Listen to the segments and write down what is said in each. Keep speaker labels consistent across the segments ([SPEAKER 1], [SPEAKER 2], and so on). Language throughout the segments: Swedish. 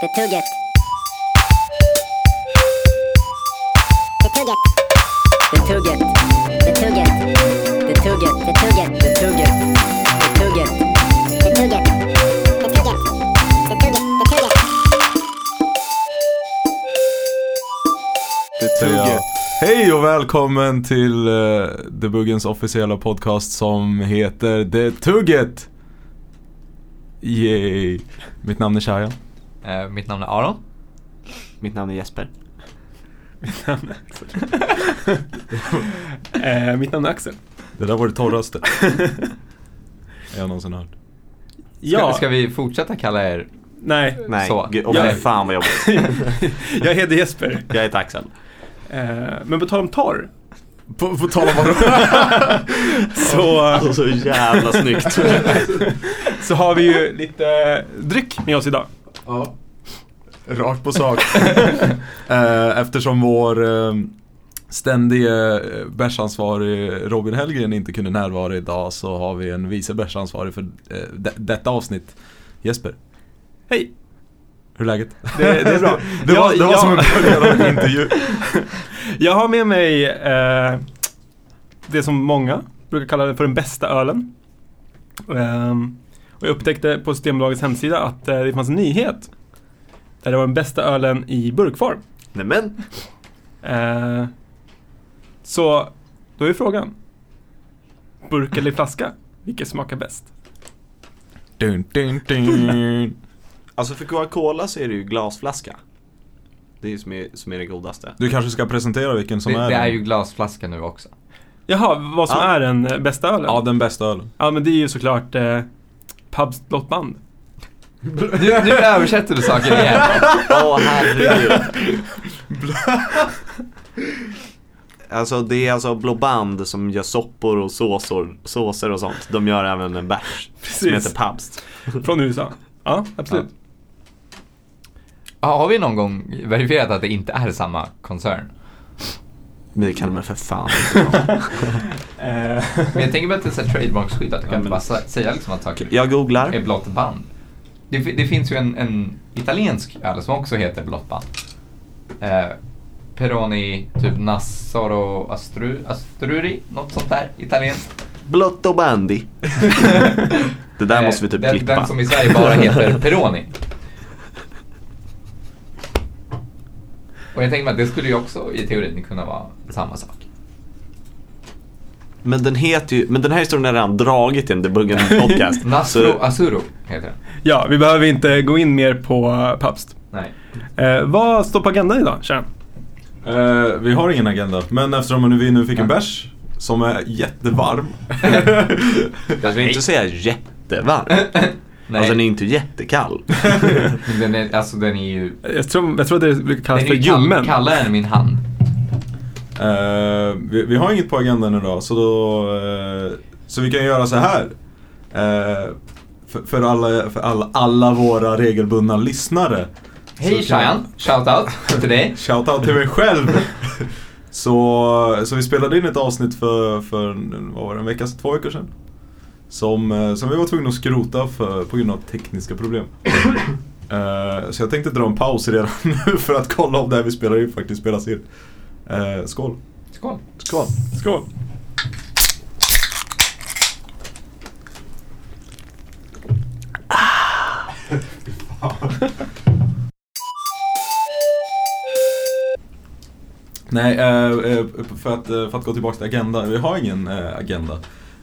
[SPEAKER 1] Betugget. Betugget. Betugget. Betugget. Betugget. Betugget. Betugget. Betugget. Betugget. Betugget. Betugget. Betugget.
[SPEAKER 2] Ja. Hej och välkommen till uh, The Buggens officiella podcast som heter Det Tugget! Yay! Mitt namn är Shayan.
[SPEAKER 3] Eh, mitt namn är Aron.
[SPEAKER 4] Mitt namn är Jesper.
[SPEAKER 5] Eh, mitt namn är Axel.
[SPEAKER 2] Det där var det torraste jag någonsin hört.
[SPEAKER 3] Ska,
[SPEAKER 5] Ja,
[SPEAKER 3] ska vi fortsätta kalla er?
[SPEAKER 5] nej.
[SPEAKER 4] Nej,
[SPEAKER 3] Så.
[SPEAKER 4] gud, åh,
[SPEAKER 5] Jag-
[SPEAKER 4] nej, fan vad jobbigt.
[SPEAKER 5] Jag heter Jesper.
[SPEAKER 4] Jag heter Axel.
[SPEAKER 5] Eh, men på tal om torr.
[SPEAKER 2] På, på tal om vad
[SPEAKER 5] Så,
[SPEAKER 4] Alltså så jävla snyggt.
[SPEAKER 5] så har vi ju lite eh, dryck med oss idag.
[SPEAKER 2] Ja. Rakt på sak. Eh, Eftersom vår eh, ständige eh, bärsansvarig Robin Hellgren inte kunde närvara idag så har vi en vice bärsansvarig för eh, de- detta avsnitt. Jesper,
[SPEAKER 5] Hej!
[SPEAKER 2] hur är läget?
[SPEAKER 5] Det, det är bra.
[SPEAKER 2] Det var,
[SPEAKER 5] Jag-
[SPEAKER 2] det var
[SPEAKER 5] jag,
[SPEAKER 2] som en början av en intervju.
[SPEAKER 5] jag har med mig eh, det som många brukar kalla det för den bästa ölen. Ehm, och jag upptäckte på Systembolagets hemsida att eh, det fanns en nyhet. Där det var den bästa ölen i burkform.
[SPEAKER 4] Nej men,
[SPEAKER 5] Eh, så då är frågan. Burk eller flaska? Vilket smakar bäst?
[SPEAKER 2] Dun, dun, dun.
[SPEAKER 4] alltså för Coca-Cola så är det ju glasflaska. Det är ju som är, som är det godaste.
[SPEAKER 2] Du kanske ska presentera vilken som
[SPEAKER 3] det,
[SPEAKER 2] är,
[SPEAKER 3] det är
[SPEAKER 2] den.
[SPEAKER 3] ju glasflaska nu också.
[SPEAKER 5] Jaha, vad som
[SPEAKER 4] Ja.
[SPEAKER 5] är den eh, bästa ölen?
[SPEAKER 2] Ja,
[SPEAKER 5] Ja.
[SPEAKER 2] den bästa ölen.
[SPEAKER 5] men det är ju såklart eh, Pabst Blått Band.
[SPEAKER 3] Nu, nu översätter du saker igen.
[SPEAKER 4] Åh herregud. Alltså det är alltså Blå Band som gör soppor och såsor, såser och sånt. De gör även en bärs som
[SPEAKER 5] Precis.
[SPEAKER 4] heter Pabst.
[SPEAKER 5] Från USA. Ja, absolut.
[SPEAKER 3] Har vi någon gång verifierat att det inte är samma koncern?
[SPEAKER 4] Men det kan de väl för fan
[SPEAKER 5] Eh,
[SPEAKER 3] Men jag tänker mig att det är så här trademarksskyddat. Du kan
[SPEAKER 4] Ja, men-
[SPEAKER 3] inte bara sä- säga liksom att saker
[SPEAKER 4] Jag
[SPEAKER 3] är
[SPEAKER 4] googlar.
[SPEAKER 3] blått band. Det, fi- det finns ju en, en italiensk öl som också heter blått band. Eh, Peroni, typ Nassoro Astru, Astruri, något sånt där italienskt.
[SPEAKER 4] Blått och bandy. Det där
[SPEAKER 3] Eh,
[SPEAKER 4] måste vi typ
[SPEAKER 3] den,
[SPEAKER 4] klippa.
[SPEAKER 3] Den som i Sverige bara heter Peroni. Och jag tänker mig att det skulle ju också i teorin kunna vara samma sak.
[SPEAKER 4] Men den heter ju, men den här historien har jag redan dragit i en debuggen podcast.
[SPEAKER 3] Nassro
[SPEAKER 4] så,
[SPEAKER 3] Asuro heter den.
[SPEAKER 5] ja, vi behöver inte gå in mer på eh, Pabst.
[SPEAKER 3] Nej.
[SPEAKER 5] Eh, vad står på agendan idag, Sharon?
[SPEAKER 2] Eh, vi har ingen agenda, men eftersom vi nu fick en bärs som är jättevarm.
[SPEAKER 4] jag vill inte säga jättevarm.
[SPEAKER 3] Nej.
[SPEAKER 4] Alltså den är inte jättekall.
[SPEAKER 3] den är, alltså den är ju...
[SPEAKER 5] Jag tror, jag tror att det brukar
[SPEAKER 3] Den
[SPEAKER 5] kallas
[SPEAKER 3] är
[SPEAKER 5] för
[SPEAKER 3] ju kall,
[SPEAKER 5] ljummen.
[SPEAKER 3] kallare än min hand.
[SPEAKER 2] Eh, vi, vi har inget på agendan idag så då, eh, så vi kan göra så här. Eh, för, för, alla, för alla, alla våra regelbundna lyssnare.
[SPEAKER 3] Hej
[SPEAKER 2] Så kan-
[SPEAKER 3] Shayan, shout out till dig.
[SPEAKER 2] Shoutout till mig själv! så, så vi spelade in ett avsnitt för, för en- vad var det, en vecka sedan, två veckor sedan. Som, eh, som vi var tvungna att skrota för, på grund av tekniska problem. Eh, så jag tänkte dra en paus redan nu för att kolla om det här vi spelar in faktiskt spelas in. Eh, skål!
[SPEAKER 3] Skål.
[SPEAKER 2] Skål!
[SPEAKER 5] Skål.
[SPEAKER 2] Nej, eh, eh, för, att, eh, för att gå tillbaka till agenda. Vi har ingen eh, agenda.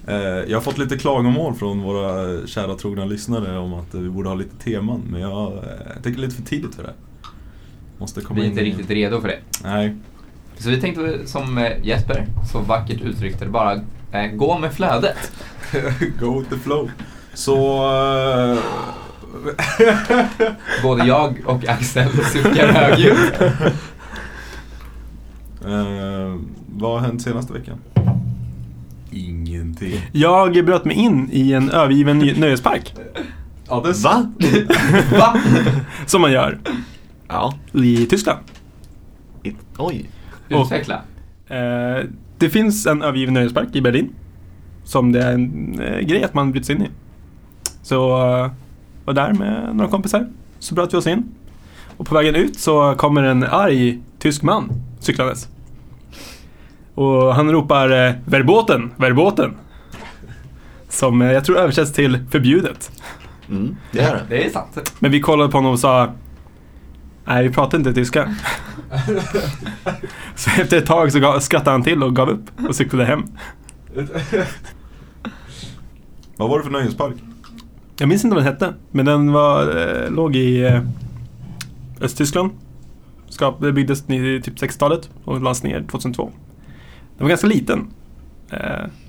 [SPEAKER 2] Eh, jag har fått lite klagomål från våra eh, kära trogna lyssnare om att eh, vi borde ha lite teman. Men jag, eh, jag tycker det är lite för tidigt för det. Måste komma
[SPEAKER 3] Vi är
[SPEAKER 2] in
[SPEAKER 3] inte
[SPEAKER 2] i-
[SPEAKER 3] riktigt redo för det.
[SPEAKER 2] Nej.
[SPEAKER 3] Så vi tänkte som eh, Jesper så vackert uttryckte det bara, eh, gå med flödet.
[SPEAKER 2] Go with the flow. Så... Eh,
[SPEAKER 3] Både jag och Axel suckar högljutt.
[SPEAKER 2] eh, vad har hänt senaste veckan? Ingenting.
[SPEAKER 5] Jag bröt mig in i en övergiven ny- nöjespark.
[SPEAKER 2] Ja, det
[SPEAKER 4] Va?
[SPEAKER 3] Va?
[SPEAKER 5] Som man gör
[SPEAKER 4] Ja.
[SPEAKER 5] i Tyskland.
[SPEAKER 4] I- Oj.
[SPEAKER 3] Utveckla.
[SPEAKER 5] Eh, det finns en övergiven nöjespark i Berlin. Som det är en eh, grej att man bryts in i. Så eh, var där med några kompisar. Så bröt vi oss in. Och på vägen ut så kommer en arg tysk man cyklandes. Och han ropar eh, verboten, verboten. Som eh, jag tror översätts till förbjudet.
[SPEAKER 4] Mm, det är det.
[SPEAKER 3] Det är sant.
[SPEAKER 5] Men vi kollade på honom och sa Nej, vi pratar inte tyska. så efter ett tag så gav- skrattade han till och gav upp och cyklade hem.
[SPEAKER 2] Vad var det för nöjespark?
[SPEAKER 5] Jag minns inte vad den hette, men den var, eh, låg i eh, Östtyskland. Skap, det byggdes i typ 60-talet och lades ner 2002. Den var ganska liten. Eh,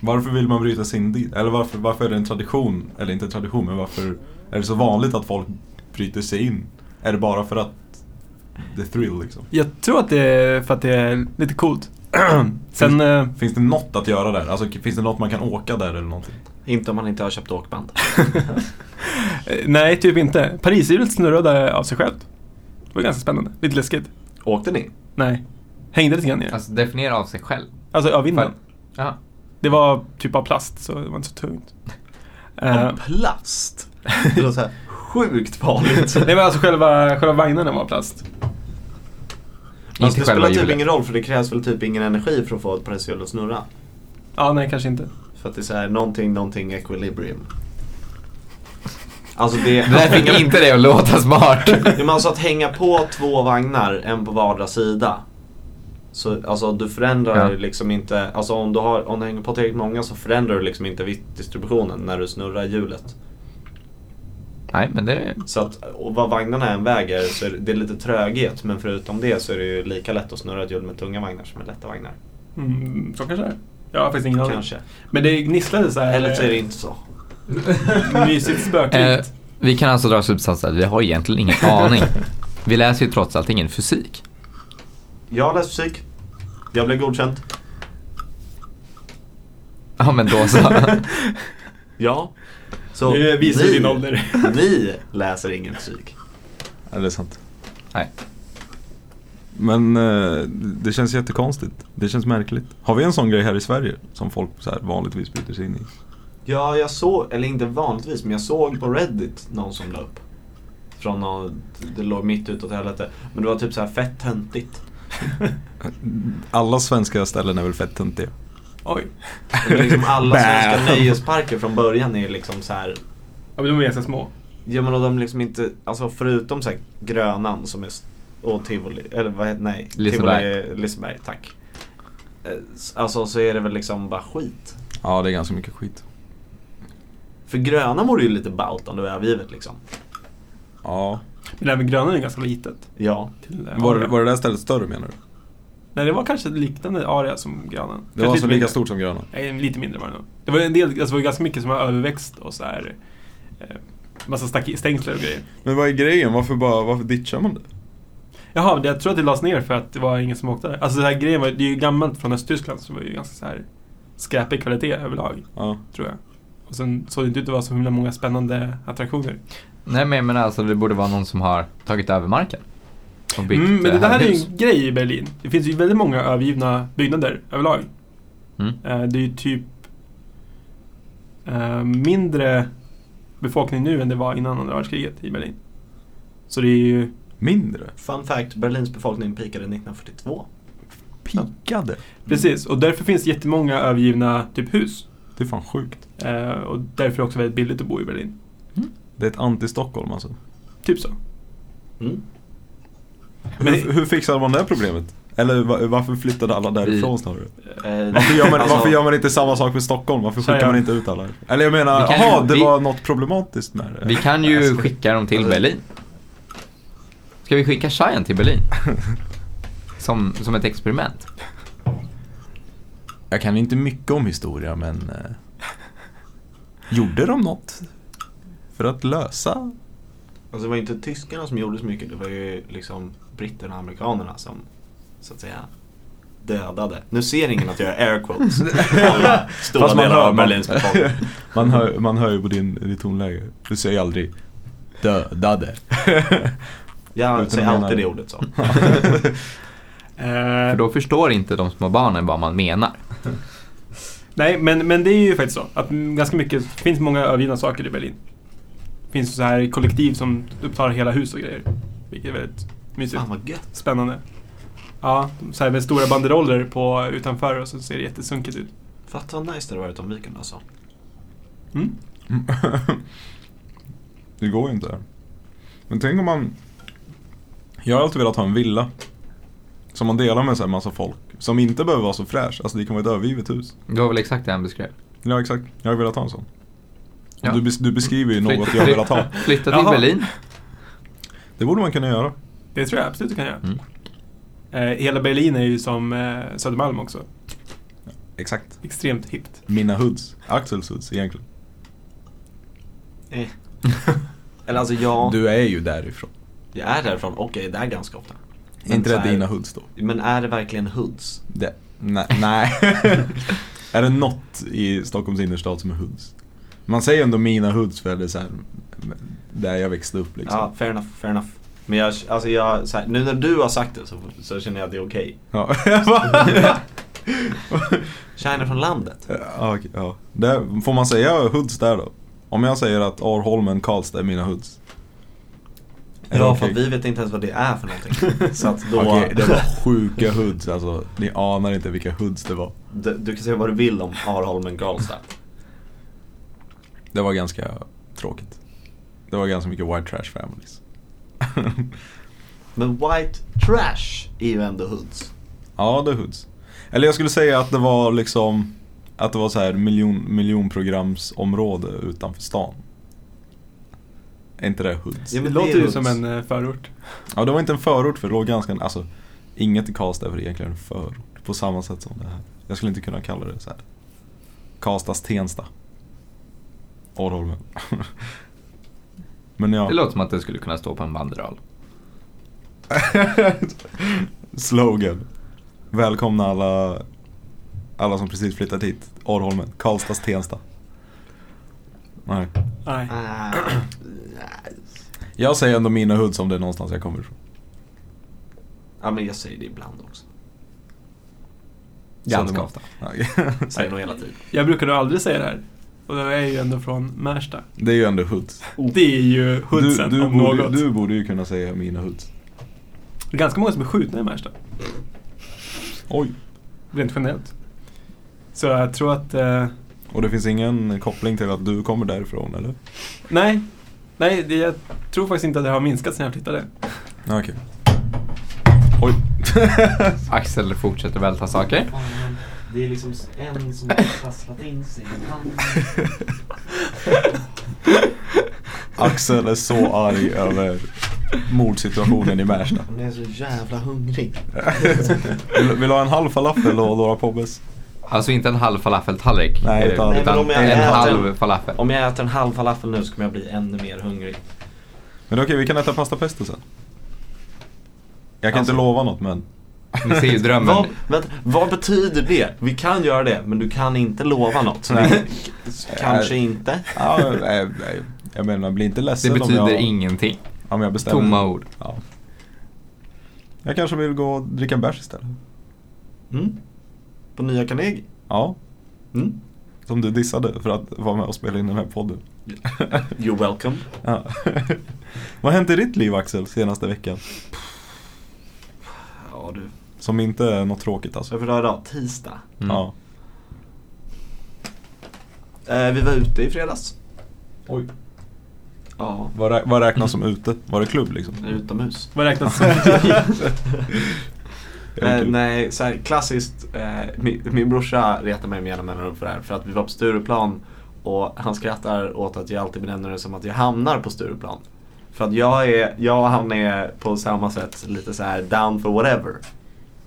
[SPEAKER 2] Varför vill man bryta sig in dit? Eller varför, varför är det en tradition? Eller inte en tradition, men varför är det så vanligt att folk bryter sig in? Är det bara för att the thrill liksom?
[SPEAKER 5] jag tror att det är för att det är lite coolt. Sen, eh,
[SPEAKER 2] Finns det något att göra där? Alltså finns det något man kan åka där eller någonting?
[SPEAKER 4] Inte om man inte har köpt åkband.
[SPEAKER 5] nej typ inte. Parishjulet snurrade av sig självt. Det var ganska spännande. Lite läskigt.
[SPEAKER 4] Åkte ni?
[SPEAKER 5] Nej. Hängde lite grann i det.
[SPEAKER 3] Alltså definiera av sig själv.
[SPEAKER 5] Alltså av vinden.
[SPEAKER 3] För- Ja.
[SPEAKER 5] Det var typ av plast så det var inte så tungt. Eh,
[SPEAKER 4] Av plast? Det låter så här sjukt farligt.
[SPEAKER 5] nej men alltså själva, själva vagnarna var av plast.
[SPEAKER 4] Fast det
[SPEAKER 3] själva
[SPEAKER 4] spelar typ
[SPEAKER 3] hjulet.
[SPEAKER 4] ingen roll för det krävs väl typ ingen energi för att få ett presshjul att snurra.
[SPEAKER 5] Ja, nej kanske inte.
[SPEAKER 4] För att det är så här någonting, någonting equilibrium. Alltså det...
[SPEAKER 3] Det där fick inte dig att låta smart.
[SPEAKER 4] Ja, men alltså att hänga på två vagnar, en på vardera sida. Så alltså du förändrar
[SPEAKER 3] Ja.
[SPEAKER 4] ju liksom inte, alltså om du, har, om du hänger på tillräckligt många så förändrar du liksom inte viktdistributionen när du snurrar hjulet.
[SPEAKER 3] Nej, men det...
[SPEAKER 4] Så att och vad vagnarna än väger så är det, det är lite tröghet men förutom det så är det ju lika lätt att snurra ett hjul med tunga vagnar som med lätta vagnar.
[SPEAKER 5] Mm, så kanske det är. Jag har faktiskt ingen aning.
[SPEAKER 4] Kanske.
[SPEAKER 5] Men det gnisslade så här.
[SPEAKER 4] Eller så är det inte så.
[SPEAKER 5] eh, Mysigt
[SPEAKER 3] Eh,
[SPEAKER 5] spöklikt.
[SPEAKER 3] vi kan alltså dra slutsatsen att vi har egentligen ingen aning. Vi läser ju trots allt ingen fysik.
[SPEAKER 4] Jag har läst fysik. Jag blev godkänd.
[SPEAKER 3] Ja, men då så.
[SPEAKER 4] Ja. Så
[SPEAKER 5] Det visar din ålder.
[SPEAKER 4] ni läser ingen fysik.
[SPEAKER 2] Ja, det är sant.
[SPEAKER 3] Nej.
[SPEAKER 2] Men eh, det känns jättekonstigt. Det känns märkligt. Har vi en sån grej här i Sverige som folk så här vanligtvis bryter sig in i?
[SPEAKER 4] Ja, jag såg, eller inte vanligtvis, men jag såg på Reddit någon som la upp. Från någon, det låg mitt utåt helvete. Men det var typ så här fett töntigt.
[SPEAKER 2] Alla svenska ställen är väl fett töntiga?
[SPEAKER 5] Oj.
[SPEAKER 4] Men Liksom alla
[SPEAKER 2] Bä.
[SPEAKER 4] svenska nöjesparker från början är liksom så här.
[SPEAKER 5] Ja, men de är ganska små.
[SPEAKER 4] Ja men och de liksom inte, alltså förutom så här Grönan som är, s- och Tivoli, eller vad heter, nej.
[SPEAKER 3] Liseberg.
[SPEAKER 4] Tivoli, Liseberg, tack. Eh, s- Alltså så är det väl liksom bara skit.
[SPEAKER 2] Ja, det är ganska mycket skit.
[SPEAKER 4] För Grönan vore ju lite ballt om du är övergivet liksom.
[SPEAKER 2] Ja.
[SPEAKER 5] Men även Grönan är ganska litet.
[SPEAKER 4] Ja.
[SPEAKER 5] Till, eh,
[SPEAKER 2] Var,
[SPEAKER 5] area.
[SPEAKER 2] var det där stället större menar du?
[SPEAKER 5] Nej, det var kanske ett liknande area som Grönan.
[SPEAKER 2] Det var
[SPEAKER 5] Kanske lite
[SPEAKER 2] alltså lika
[SPEAKER 5] mindre.
[SPEAKER 2] stort som Grönan?
[SPEAKER 5] Nej, lite mindre var det nog. Det var en del, alltså det var ganska mycket som var överväxt och så här. Eh, massa stack- stängsler och grejer.
[SPEAKER 2] Men vad är grejen? Varför, bara, varför ditchar man det?
[SPEAKER 5] Jaha, det- jag tror att det lades ner för att det var ingen som åkte där. Alltså den här grejen var, det är ju gammalt från Östtyskland så det var ju ganska så här skräpig kvalitet överlag,
[SPEAKER 2] Ja.
[SPEAKER 5] tror jag. Och sen såg det inte ut att vara så himla många spännande attraktioner.
[SPEAKER 3] Nej, men jag menar alltså det borde vara någon som har tagit över marken. Och byggt
[SPEAKER 5] Mm, men det
[SPEAKER 3] eh,
[SPEAKER 5] där är ju
[SPEAKER 3] hus.
[SPEAKER 5] en grej i Berlin. Det finns ju väldigt många övergivna byggnader överlag.
[SPEAKER 3] Mm.
[SPEAKER 5] Eh, Det är ju typ eh, mindre befolkning nu än det var innan andra världskriget i Berlin. Så det är ju...
[SPEAKER 2] Mindre?
[SPEAKER 4] Fun fact, Berlins befolkning peakade 1942.
[SPEAKER 2] Pikade?
[SPEAKER 5] Precis, och därför finns det jättemånga övergivna typ hus.
[SPEAKER 2] Det är fan sjukt.
[SPEAKER 5] Eh, Och därför är det också väldigt billigt att bo i Berlin.
[SPEAKER 3] Mm.
[SPEAKER 2] Det är ett anti-Stockholm alltså.
[SPEAKER 5] Typ så.
[SPEAKER 4] Mm.
[SPEAKER 5] Men-
[SPEAKER 2] hur, hur fixar man det här problemet? Eller va- varför flyttade alla därifrån snarare?
[SPEAKER 4] Eh,
[SPEAKER 2] Varför gör, man,
[SPEAKER 4] alltså,
[SPEAKER 2] varför gör man inte samma sak med Stockholm? Varför
[SPEAKER 5] Säger
[SPEAKER 2] skickar man
[SPEAKER 5] jag.
[SPEAKER 2] inte ut alla? Eller jag menar,
[SPEAKER 3] Vi kan ju-
[SPEAKER 2] jaha, det
[SPEAKER 3] vi-
[SPEAKER 2] var något problematiskt med det.
[SPEAKER 3] Vi kan ju skicka dem till Berlin. Ska vi skicka Cheyenne till Berlin? Som, som ett experiment.
[SPEAKER 2] Jag kan inte mycket om historia, men... eh, gjorde de något? För att lösa?
[SPEAKER 4] Alltså det var ju inte tyskarna som gjorde så mycket, det var ju liksom britterna och amerikanerna som så att säga dödade. Nu ser ingen att jag gör air quotes. Alla Stora
[SPEAKER 2] Fast man
[SPEAKER 4] delar
[SPEAKER 2] hör-
[SPEAKER 4] av
[SPEAKER 2] man-
[SPEAKER 4] Berlins befolkning.
[SPEAKER 2] Man hör, man hör ju på din, ditt tonläge. Du säger aldrig dödade. Utan
[SPEAKER 4] Jag säger
[SPEAKER 2] att mena-
[SPEAKER 4] alltid det ordet så.
[SPEAKER 5] Eh,
[SPEAKER 3] För då förstår inte de små barnen vad man menar.
[SPEAKER 5] Nej, men, men det är ju faktiskt så att mm, ganska mycket, det finns många övergivna saker i Berlin. Det finns så här kollektiv som upptar hela hus och grejer. Vilket är väldigt mysigt.
[SPEAKER 4] Fan vad gött.
[SPEAKER 5] Spännande. Ja, så här med stora banderoller på, utanför och så ser det jättesunkigt ut.
[SPEAKER 4] Fatta vad nice det hade varit om vi kunde alltså.
[SPEAKER 5] Mm.
[SPEAKER 2] det går ju inte. Men tänk om man... Jag har alltid velat ha en villa. Som man delar med en massa folk. Som inte behöver vara så fräsch. Alltså det kan vara ett övergivet hus.
[SPEAKER 3] Det var väl exakt det han beskrev.
[SPEAKER 2] Ja exakt, jag har velat ha en sån. Och
[SPEAKER 3] Ja.
[SPEAKER 2] Du, bes- du beskriver ju något
[SPEAKER 3] Flytta-
[SPEAKER 2] jag har velat ha.
[SPEAKER 3] Flytta till
[SPEAKER 5] Jaha.
[SPEAKER 3] Berlin.
[SPEAKER 2] Det borde man kunna göra.
[SPEAKER 5] Det tror jag absolut du kan göra.
[SPEAKER 3] Mm.
[SPEAKER 5] Eh, hela Berlin är ju som eh, Södermalm också.
[SPEAKER 2] Exakt.
[SPEAKER 5] Extremt hippt.
[SPEAKER 2] Mina hoods. Axels hoods egentligen.
[SPEAKER 4] Eh. Eller alltså jag,
[SPEAKER 2] Du är ju därifrån.
[SPEAKER 4] jag är därifrån och jag är där ganska ofta. Men
[SPEAKER 2] inte
[SPEAKER 4] så
[SPEAKER 2] det
[SPEAKER 4] här-
[SPEAKER 2] dina hoods då?
[SPEAKER 4] Men är det verkligen hoods?
[SPEAKER 2] Det. Nej. nej. är det något i Stockholms innerstad som är hoods? Man säger ändå mina hoods för det är så här, där jag växte upp liksom.
[SPEAKER 4] Ja, fair enough, fair enough. Men jag, alltså jag, så här, nu när du har sagt det så, så känner jag att det är okej.
[SPEAKER 2] Ja. Va?
[SPEAKER 4] Kärnor från landet.
[SPEAKER 2] Eh, ja, okej, ja. Där, får man säga hoods där då? Om jag säger att Arholmen, Karlstad är mina hoods. Är det
[SPEAKER 4] Ja,
[SPEAKER 2] okej?
[SPEAKER 4] för vi vet inte ens vad det är för någonting. Så att då,
[SPEAKER 2] Okej, det var sjuka hoods alltså. Ni anar inte vilka hoods det var.
[SPEAKER 4] du, du kan säga vad du vill om Arholmen Karlstad.
[SPEAKER 2] Det var ganska tråkigt. Det var ganska mycket white trash families.
[SPEAKER 4] Men white trash är ju ändå hoods.
[SPEAKER 2] ja, det är hoods. Eller jag skulle säga att det var liksom att det var så här miljon, miljonprogramsområde utanför stan. Är inte det hoods?
[SPEAKER 4] Ja,
[SPEAKER 5] det
[SPEAKER 4] men
[SPEAKER 5] låter
[SPEAKER 4] det är
[SPEAKER 5] ju
[SPEAKER 4] hoods.
[SPEAKER 5] som en eh, förort.
[SPEAKER 2] Ja, det var inte en förort för det låg ganska, alltså inget i Karlstad är väl egentligen en förort på samma sätt som det här. Jag skulle inte kunna kalla det så här. Karlstads-Tensta. Arholmen. Men ja.
[SPEAKER 3] Det låter som att det skulle kunna stå på en banderoll.
[SPEAKER 2] Slogan. Välkomna alla, alla som precis flyttat hit. Arholmen, Karlstads Tensta. Nej.
[SPEAKER 5] Nej.
[SPEAKER 4] Ah,
[SPEAKER 2] Jag säger ändå mina hoods om det är någonstans jag kommer ifrån.
[SPEAKER 4] ja, men jag säger det ibland också.
[SPEAKER 3] Ganska
[SPEAKER 2] Södermalm.
[SPEAKER 3] ofta.
[SPEAKER 2] Ja,
[SPEAKER 4] Säger nog hela tiden.
[SPEAKER 5] Jag brukar nog aldrig säga det här. Och jag är ju ändå från Märsta.
[SPEAKER 2] Det är ju ändå hoods.
[SPEAKER 5] Oh. Det är ju hoodsen
[SPEAKER 2] Oh. du, du,
[SPEAKER 5] om
[SPEAKER 2] borde,
[SPEAKER 5] något.
[SPEAKER 2] du borde ju kunna säga mina hoods.
[SPEAKER 5] Det är ganska många som är skjutna i Märsta.
[SPEAKER 2] Oj.
[SPEAKER 5] Rent generellt. Så jag tror att... Eh,
[SPEAKER 2] Och det finns ingen koppling till att du kommer därifrån eller?
[SPEAKER 5] nej. Nej, det, jag tror faktiskt inte att det har minskat sen jag flyttade.
[SPEAKER 2] Ja, Okej. Oj.
[SPEAKER 3] Axel fortsätter välta saker.
[SPEAKER 6] Det är liksom en som har trasslat in sig i handen.
[SPEAKER 2] Axel är så arg över mordsituationen i Märsta.
[SPEAKER 4] Men jag är så jävla hungrig.
[SPEAKER 2] Vill, vill du ha en halv falafel och några pobbes?
[SPEAKER 3] Alltså inte en halv falafeltallrik.
[SPEAKER 2] Nej,
[SPEAKER 3] eh,
[SPEAKER 2] utan- Nej, men
[SPEAKER 3] utan
[SPEAKER 4] om jag
[SPEAKER 3] en
[SPEAKER 4] äter-
[SPEAKER 3] halv falafel.
[SPEAKER 4] Om jag äter en halv falafel nu så kommer jag bli ännu mer hungrig.
[SPEAKER 2] Men det är okej, vi kan äta pasta pesto sen. Jag kan
[SPEAKER 4] Alltså-
[SPEAKER 2] inte lova något men.
[SPEAKER 3] Ni ser ju drömmen.
[SPEAKER 4] Vad, vänta, vad betyder det? Vi kan göra det, men du kan inte lova något.
[SPEAKER 2] Nej.
[SPEAKER 4] Kanske
[SPEAKER 2] Eh,
[SPEAKER 4] inte.
[SPEAKER 2] Ja, nej, nej. Jag menar, bli inte
[SPEAKER 3] Det
[SPEAKER 2] ledsen om
[SPEAKER 3] betyder
[SPEAKER 2] jag,
[SPEAKER 3] ingenting.
[SPEAKER 2] om jag bestämmer.
[SPEAKER 3] Tomma ord.
[SPEAKER 2] Ja. Jag kanske vill gå och dricka en bärs istället.
[SPEAKER 4] Mm. På Nya Carnegie?
[SPEAKER 2] Ja,
[SPEAKER 4] Mm.
[SPEAKER 2] som du dissade för att vara med och spela in den här podden.
[SPEAKER 4] You're welcome.
[SPEAKER 2] Ja. Vad har hänt i ditt liv Axel senaste veckan?
[SPEAKER 4] Ja du.
[SPEAKER 2] Som inte är något tråkigt
[SPEAKER 4] Så
[SPEAKER 2] alltså.
[SPEAKER 4] för idag, tisdag.
[SPEAKER 3] Mm.
[SPEAKER 2] Ja.
[SPEAKER 4] Eh, vi var ute i fredags.
[SPEAKER 2] Oj.
[SPEAKER 4] Ja.
[SPEAKER 2] Vad, rä- vad räknas som ute? Var det klubb liksom?
[SPEAKER 4] Utomhus.
[SPEAKER 5] Vad räknas som...
[SPEAKER 2] Är det
[SPEAKER 4] Eh,
[SPEAKER 2] klubb?
[SPEAKER 4] nej, så här, klassiskt. Eh, min, min brorsa retar mig med jämna mellanrum för det här. För att vi var på Stureplan och han skrattar åt att jag alltid benämner det som att jag hamnar på Stureplan. För att jag, är, jag och han är på samma sätt lite så här down for whatever.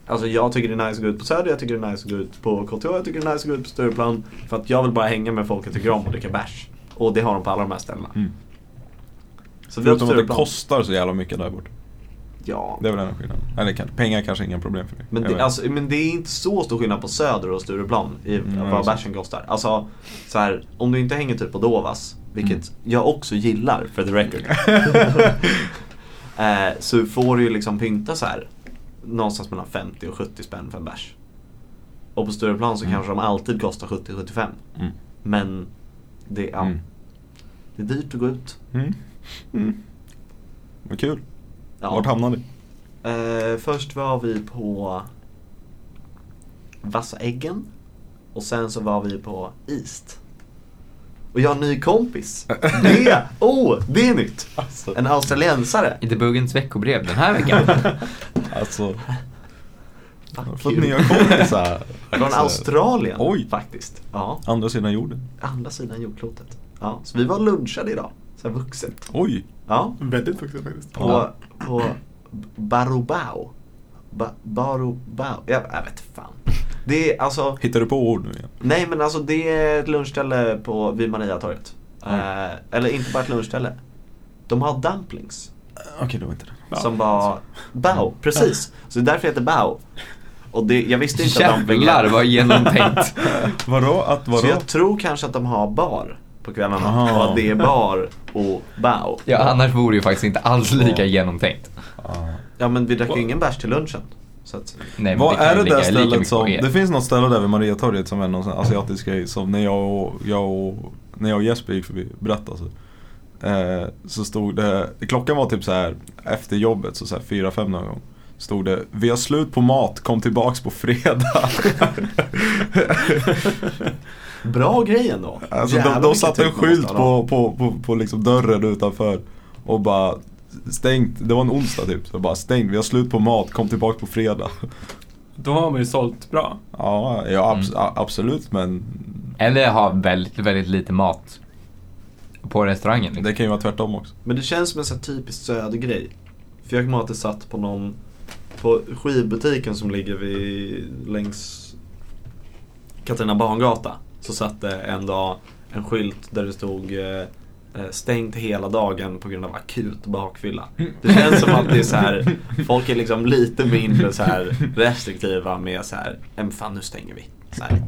[SPEAKER 4] Alltså jag tycker det är nice att gå ut på Söder, jag tycker det är nice att gå ut på KTH, jag tycker det är nice att gå ut på Stureplan. För att jag vill bara hänga med folk jag tycker om och dricka bärs. Och det har de på alla de här ställena.
[SPEAKER 2] Mm.
[SPEAKER 4] Så vi var på
[SPEAKER 2] Förutom att det
[SPEAKER 4] Stureplan.
[SPEAKER 2] kostar så jävla mycket där borta.
[SPEAKER 4] Ja,
[SPEAKER 2] Det är väl den här skillnaden. Eller kan- pengar kanske är inga problem för mig.
[SPEAKER 4] Men
[SPEAKER 2] Jag vet.
[SPEAKER 4] det, alltså, men det är inte så stor skillnad på Söder och Stureplan i
[SPEAKER 2] Mm,
[SPEAKER 4] vad
[SPEAKER 2] alltså.
[SPEAKER 4] bärsen kostar. Alltså, så här, om du inte hänger typ på Dovas, vilket
[SPEAKER 2] Mm.
[SPEAKER 4] jag också gillar för the record. eh, så får du ju liksom pynta så här någonstans mellan 50 och 70 spänn för en bärs. Och på Stureplan så
[SPEAKER 2] Mm.
[SPEAKER 4] kanske de alltid kostar 70-75.
[SPEAKER 2] Mm.
[SPEAKER 4] Men det, ja,
[SPEAKER 2] Mm.
[SPEAKER 4] det är dyrt att gå ut.
[SPEAKER 2] Mm. Mm. Vad kul.
[SPEAKER 4] Ja.
[SPEAKER 2] Vart hamnar ni?
[SPEAKER 4] Eh, först var vi på Vassa äggen och sen så var vi på East. Och jag har en ny kompis. Det, oh, det är nytt.
[SPEAKER 2] Alltså,
[SPEAKER 4] En australiensare.
[SPEAKER 3] Inte Buggens veckobrev den här veckan.
[SPEAKER 2] alltså
[SPEAKER 4] Fuck
[SPEAKER 2] jag har fått
[SPEAKER 4] you.
[SPEAKER 2] nya kompisar. Alltså,
[SPEAKER 4] Från Australien
[SPEAKER 2] Oj.
[SPEAKER 4] faktiskt. Ja,
[SPEAKER 2] Andra sidan jorden.
[SPEAKER 4] andra sidan jordklotet. Ja, så vi var lunchade idag. Så här vuxet.
[SPEAKER 2] Oj!
[SPEAKER 4] Ja,
[SPEAKER 5] Väldigt vuxen faktiskt.
[SPEAKER 4] på, på Barubao. Ba, Barubao. Jag, jag vet fan. Det är alltså,
[SPEAKER 2] Hittar du på ord nu igen?
[SPEAKER 4] nej men alltså det är ett lunchställe på, vid Mariatorget. Eh, eller inte bara ett lunchställe. De har dumplings.
[SPEAKER 2] Okej, det var inte det.
[SPEAKER 5] Ja.
[SPEAKER 4] som var Bao, precis. Så det är därför det heter Bao. Och det, jag visste inte att de ville...
[SPEAKER 3] Jävlar vad genomtänkt.
[SPEAKER 2] Vadå? Att vadå?
[SPEAKER 4] Så jag tror kanske att de har bar på kvällarna.
[SPEAKER 2] Aha.
[SPEAKER 4] Och att det är bar och Bao.
[SPEAKER 3] Ja, annars vore det ju faktiskt inte alls lika genomtänkt.
[SPEAKER 2] Ah.
[SPEAKER 4] Ja men vi drack ju ingen bärs till lunchen. Så att,
[SPEAKER 3] Nej, men
[SPEAKER 2] Vad
[SPEAKER 3] kan ju
[SPEAKER 2] är det
[SPEAKER 3] ligga
[SPEAKER 2] där
[SPEAKER 3] lika
[SPEAKER 2] stället
[SPEAKER 3] mycket på E.
[SPEAKER 2] som...
[SPEAKER 3] er.
[SPEAKER 2] Det finns något ställe där vid Mariatorget som är någon sån här asiatisk grej som när jag och, jag och, när jag och Jesper gick förbi, berätta alltså. Eh, så stod det, klockan var typ så här efter jobbet, så, så här 4-5 någon gång. Stod det, vi har slut på mat, kom tillbaks på fredag.
[SPEAKER 4] bra grej ändå.
[SPEAKER 2] Alltså de,
[SPEAKER 4] Jävlar,
[SPEAKER 2] de
[SPEAKER 4] vilken
[SPEAKER 2] satte en
[SPEAKER 4] tur man
[SPEAKER 2] skylt
[SPEAKER 4] måste ha
[SPEAKER 2] på,
[SPEAKER 4] då.
[SPEAKER 2] på, på, på liksom dörren utanför och bara stängt, det var en onsdag typ, så bara stängt, vi har slut på mat, kom tillbaka på fredag.
[SPEAKER 5] Då har man ju sålt bra.
[SPEAKER 2] Ja, ja abs-
[SPEAKER 3] Mm.
[SPEAKER 2] a- absolut men
[SPEAKER 3] Eller ha väldigt, väldigt lite mat på restaurangen. liksom.
[SPEAKER 2] det kan ju vara tvärtom också.
[SPEAKER 4] Men det känns som en sån här typisk södergrej. För jag kommer ihåg att det satt på någon, på skivbutiken som ligger vid, längs Katarina Barngata. Så satt det en dag en skylt där det stod eh, eh, stängt hela dagen på grund av akut bakfylla. Det känns som att det är så här, folk är liksom lite mindre så här restriktiva med så här, "Nej, men fan nu stänger vi. Så här.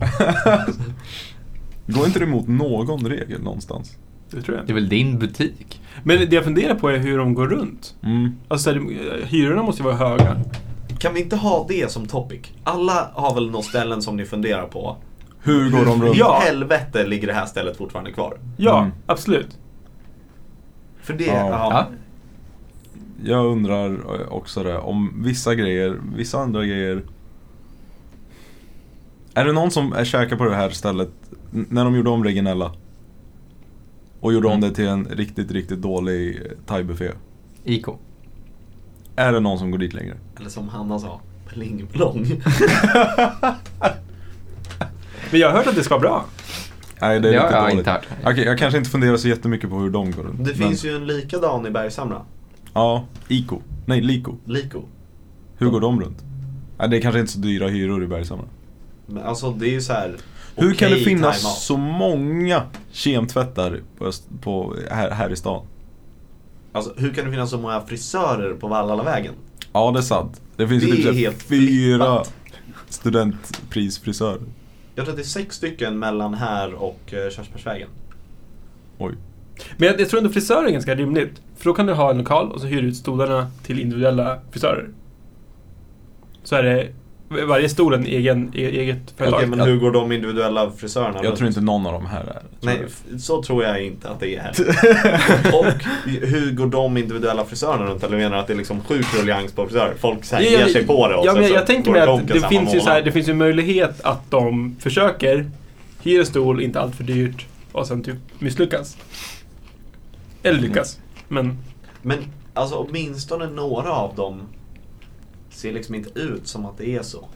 [SPEAKER 2] Går inte det emot någon regel någonstans?
[SPEAKER 5] Det tror jag.
[SPEAKER 3] Det är väl din butik?
[SPEAKER 5] Men det jag funderar på är hur de går runt.
[SPEAKER 2] Mm.
[SPEAKER 5] Alltså, det- hyrorna måste ju vara höga.
[SPEAKER 4] Kan vi inte ha det som topic? Alla har väl några ställen som ni funderar på.
[SPEAKER 2] Hur går de runt?
[SPEAKER 4] I
[SPEAKER 5] Ja.
[SPEAKER 4] helvete ligger det här stället fortfarande kvar?
[SPEAKER 5] Ja,
[SPEAKER 2] Mm.
[SPEAKER 5] absolut.
[SPEAKER 4] För det,
[SPEAKER 2] Ja.
[SPEAKER 4] ja.
[SPEAKER 3] Ja.
[SPEAKER 2] Jag undrar eh, också det, om vissa grejer, vissa andra grejer. Är det någon som är käkar på det här stället n- när de gjorde om Reginella? Och gjorde om
[SPEAKER 3] Mm.
[SPEAKER 2] det till en riktigt, riktigt dålig eh, thaibuffé.
[SPEAKER 3] IK.
[SPEAKER 2] Är det någon som går dit längre?
[SPEAKER 4] Eller som Hanna sa, pling plong.
[SPEAKER 5] Men jag har hört att det ska vara bra.
[SPEAKER 2] Nej, det är
[SPEAKER 3] Det har
[SPEAKER 2] riktigt
[SPEAKER 3] jag
[SPEAKER 2] dåligt.
[SPEAKER 3] inte hört.
[SPEAKER 2] Okej, jag kanske inte funderar så jättemycket på hur de går runt.
[SPEAKER 4] Det finns ju en likadan i Bergshamra,
[SPEAKER 2] Ja, Iko. Nej, Liko.
[SPEAKER 4] Liko.
[SPEAKER 2] Hur går de runt? Nej, det är kanske inte så dyra hyror i Bergshamra.
[SPEAKER 4] Men alltså det är ju så här.
[SPEAKER 2] Hur kan det
[SPEAKER 4] okej
[SPEAKER 2] finnas
[SPEAKER 4] time-out.
[SPEAKER 2] så många kemtvättar på, öst- på, här, här i stan?
[SPEAKER 4] Alltså hur kan det finnas så många frisörer på Vallallavägen?
[SPEAKER 2] Ja, det är sant. Det finns ju
[SPEAKER 4] Det
[SPEAKER 2] typ
[SPEAKER 4] är
[SPEAKER 2] så här
[SPEAKER 4] helt
[SPEAKER 2] fyra
[SPEAKER 4] flippat.
[SPEAKER 2] studentprisfrisörer.
[SPEAKER 4] Jag tror att det är sex stycken mellan här och eh, Körsbärsvägen.
[SPEAKER 2] Oj.
[SPEAKER 5] Men jag, jag tror ändå frisörer är ganska rimligt. För då kan du ha en lokal och så hyr du ut stolarna till individuella frisörer. Så är det varje stol en egen, e- eget
[SPEAKER 4] Okej
[SPEAKER 5] företag.
[SPEAKER 4] men hur går de individuella frisörerna
[SPEAKER 2] Jag
[SPEAKER 4] runt?
[SPEAKER 2] tror inte någon av de här är det.
[SPEAKER 4] Nej, f- så tror jag inte att det är här. Och hur går de individuella frisörerna runt? Eller menar du att det är liksom sjuk ruljans på frisörer? Folk så här
[SPEAKER 5] Ja,
[SPEAKER 4] ger
[SPEAKER 5] jag-
[SPEAKER 4] sig på det och
[SPEAKER 5] ja,
[SPEAKER 4] sen
[SPEAKER 5] men jag,
[SPEAKER 4] så
[SPEAKER 5] jag tänker
[SPEAKER 4] går
[SPEAKER 5] mig att
[SPEAKER 4] konken
[SPEAKER 5] det
[SPEAKER 4] samma
[SPEAKER 5] finns, ju så här,
[SPEAKER 4] månad.
[SPEAKER 5] det finns ju möjlighet att de försöker hyra en stol, inte allt för dyrt och sen typ misslyckas. Eller lyckas. Men
[SPEAKER 4] Men alltså åtminstone några av dem ser liksom inte ut som att det är så.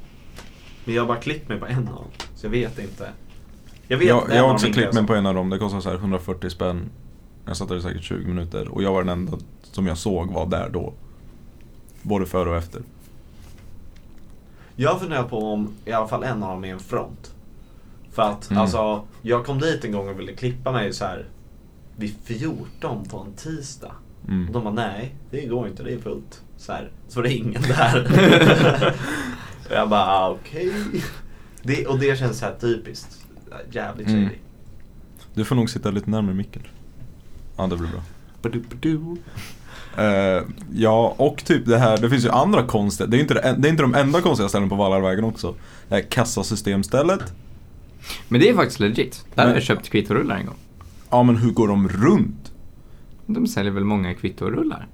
[SPEAKER 4] Men jag har bara klippt mig på en av dem, så jag vet inte. Jag vet
[SPEAKER 2] Jag,
[SPEAKER 4] att en
[SPEAKER 2] jag
[SPEAKER 4] av
[SPEAKER 2] har
[SPEAKER 4] dem
[SPEAKER 2] också
[SPEAKER 4] inte är
[SPEAKER 2] klippt mig
[SPEAKER 4] så.
[SPEAKER 2] på en av dem. Det kostade så här 140 spänn. Jag satt där i säkert 20 minuter och jag var den enda som jag såg var där då. Både före och efter.
[SPEAKER 4] Jag funderar på om i alla fall en av dem är en front. För att
[SPEAKER 2] Mm.
[SPEAKER 4] alltså, jag kom dit en gång och ville klippa mig så här vid 14 på en tisdag.
[SPEAKER 2] Mm.
[SPEAKER 4] Och de bara nej, det går inte, det är fullt. Så, här, så var det ingen där. och jag bara ah, okej. Det- Och det känns så här typiskt. Jävligt
[SPEAKER 2] Mm.
[SPEAKER 4] shady.
[SPEAKER 2] Du får nog sitta lite närmare micken. Ja, det blir bra. Eh, ja, och typ det här, det finns ju andra konstiga, det är ju inte, det, en- det är inte de enda konstiga ställena på Vallarvägen också. Det här kassasystemstället.
[SPEAKER 3] Men det är faktiskt legit. Där har
[SPEAKER 2] Men-
[SPEAKER 3] jag köpt kvittorullar en gång.
[SPEAKER 2] Ja men hur går de runt?
[SPEAKER 3] De säljer väl många kvittorullar?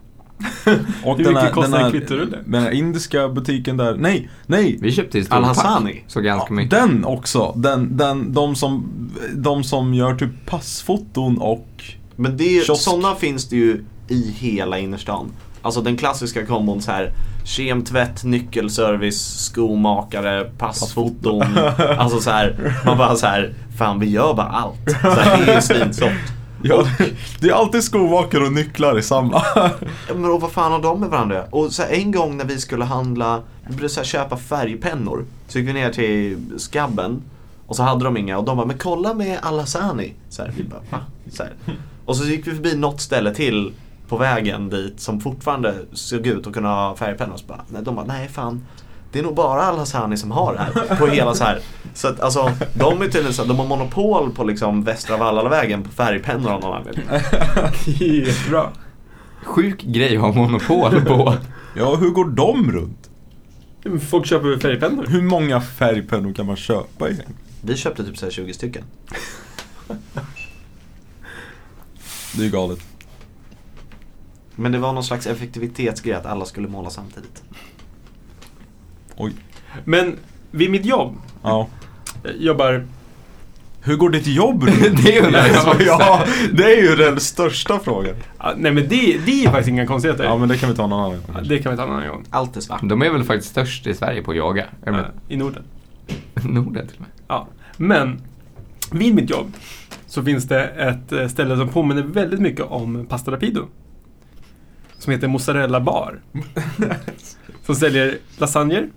[SPEAKER 2] Och
[SPEAKER 5] Hur
[SPEAKER 2] den här,
[SPEAKER 5] mycket kostar
[SPEAKER 2] den här,
[SPEAKER 5] en kvittorulle?
[SPEAKER 2] Den här indiska butiken där. Nej, nej!
[SPEAKER 3] Vi köpte i
[SPEAKER 4] Al
[SPEAKER 3] storpack.
[SPEAKER 4] Hassani.
[SPEAKER 3] Så ganska
[SPEAKER 2] Ja,
[SPEAKER 3] mycket.
[SPEAKER 2] Den också! Den, den, de, som, de som gör typ passfoton och...
[SPEAKER 4] Men det är,
[SPEAKER 2] Kiosk.
[SPEAKER 4] sådana finns det ju i hela innerstan. Alltså den klassiska kombon så här kemtvätt, nyckelservice, skomakare, passfoton. alltså så här, man bara så här, fan vi gör bara allt. Så här, det är ju svinsort.
[SPEAKER 2] Ja, det är alltid skomakare och nycklar i samma.
[SPEAKER 4] Ja, Men och vad fan har de med varandra Och så här, en gång när vi skulle handla, vi började så här, köpa färgpennor. Så gick vi ner till Skabben och så hade de inga och de bara, men kolla med Al-Hassani. Så här, vi bara, va? Så här. Och så gick vi förbi något ställe till på vägen dit som fortfarande såg ut att kunna ha färgpennor. Och så bara, nej, de bara, nej fan. Det är nog bara Al-Hassani som har det här. På hela så här. Så att alltså, de är tydligen så här, de har monopol på liksom Västra Vallavägen på färgpennor av någon anledning.
[SPEAKER 5] Helt bra.
[SPEAKER 3] Sjuk grej att ha monopol på.
[SPEAKER 2] Ja, hur går de runt?
[SPEAKER 5] Men Folk köper väl färgpennor?
[SPEAKER 2] Hur många färgpennor kan man köpa egentligen?
[SPEAKER 4] Vi köpte typ så här 20 stycken.
[SPEAKER 2] Det är ju galet.
[SPEAKER 4] Men det var någon slags effektivitetsgrej att alla skulle måla samtidigt.
[SPEAKER 2] Oj.
[SPEAKER 5] Men vid mitt jobb,
[SPEAKER 2] Ja.
[SPEAKER 5] jag jobbar
[SPEAKER 2] Hur går ditt jobb runt?
[SPEAKER 3] Det undrar jag också.
[SPEAKER 2] Ja, det är ju den största frågan.
[SPEAKER 5] Ja, ah, nej men det, det är faktiskt inga konstigheter.
[SPEAKER 2] Ja, men det kan vi ta någon annan gång.
[SPEAKER 5] Ja, Det kan vi ta en annan gång.
[SPEAKER 4] Allt är svart.
[SPEAKER 3] De är väl faktiskt störst i Sverige på att jaga. Jag
[SPEAKER 5] Ja,
[SPEAKER 3] menar,
[SPEAKER 5] I Norden.
[SPEAKER 3] Norden till och med.
[SPEAKER 5] Ja. Men vid mitt jobb så finns det ett eh, ställe som påminner väldigt mycket om Pasta Rapido. Som heter Mozzarella Bar. som säljer lasagner,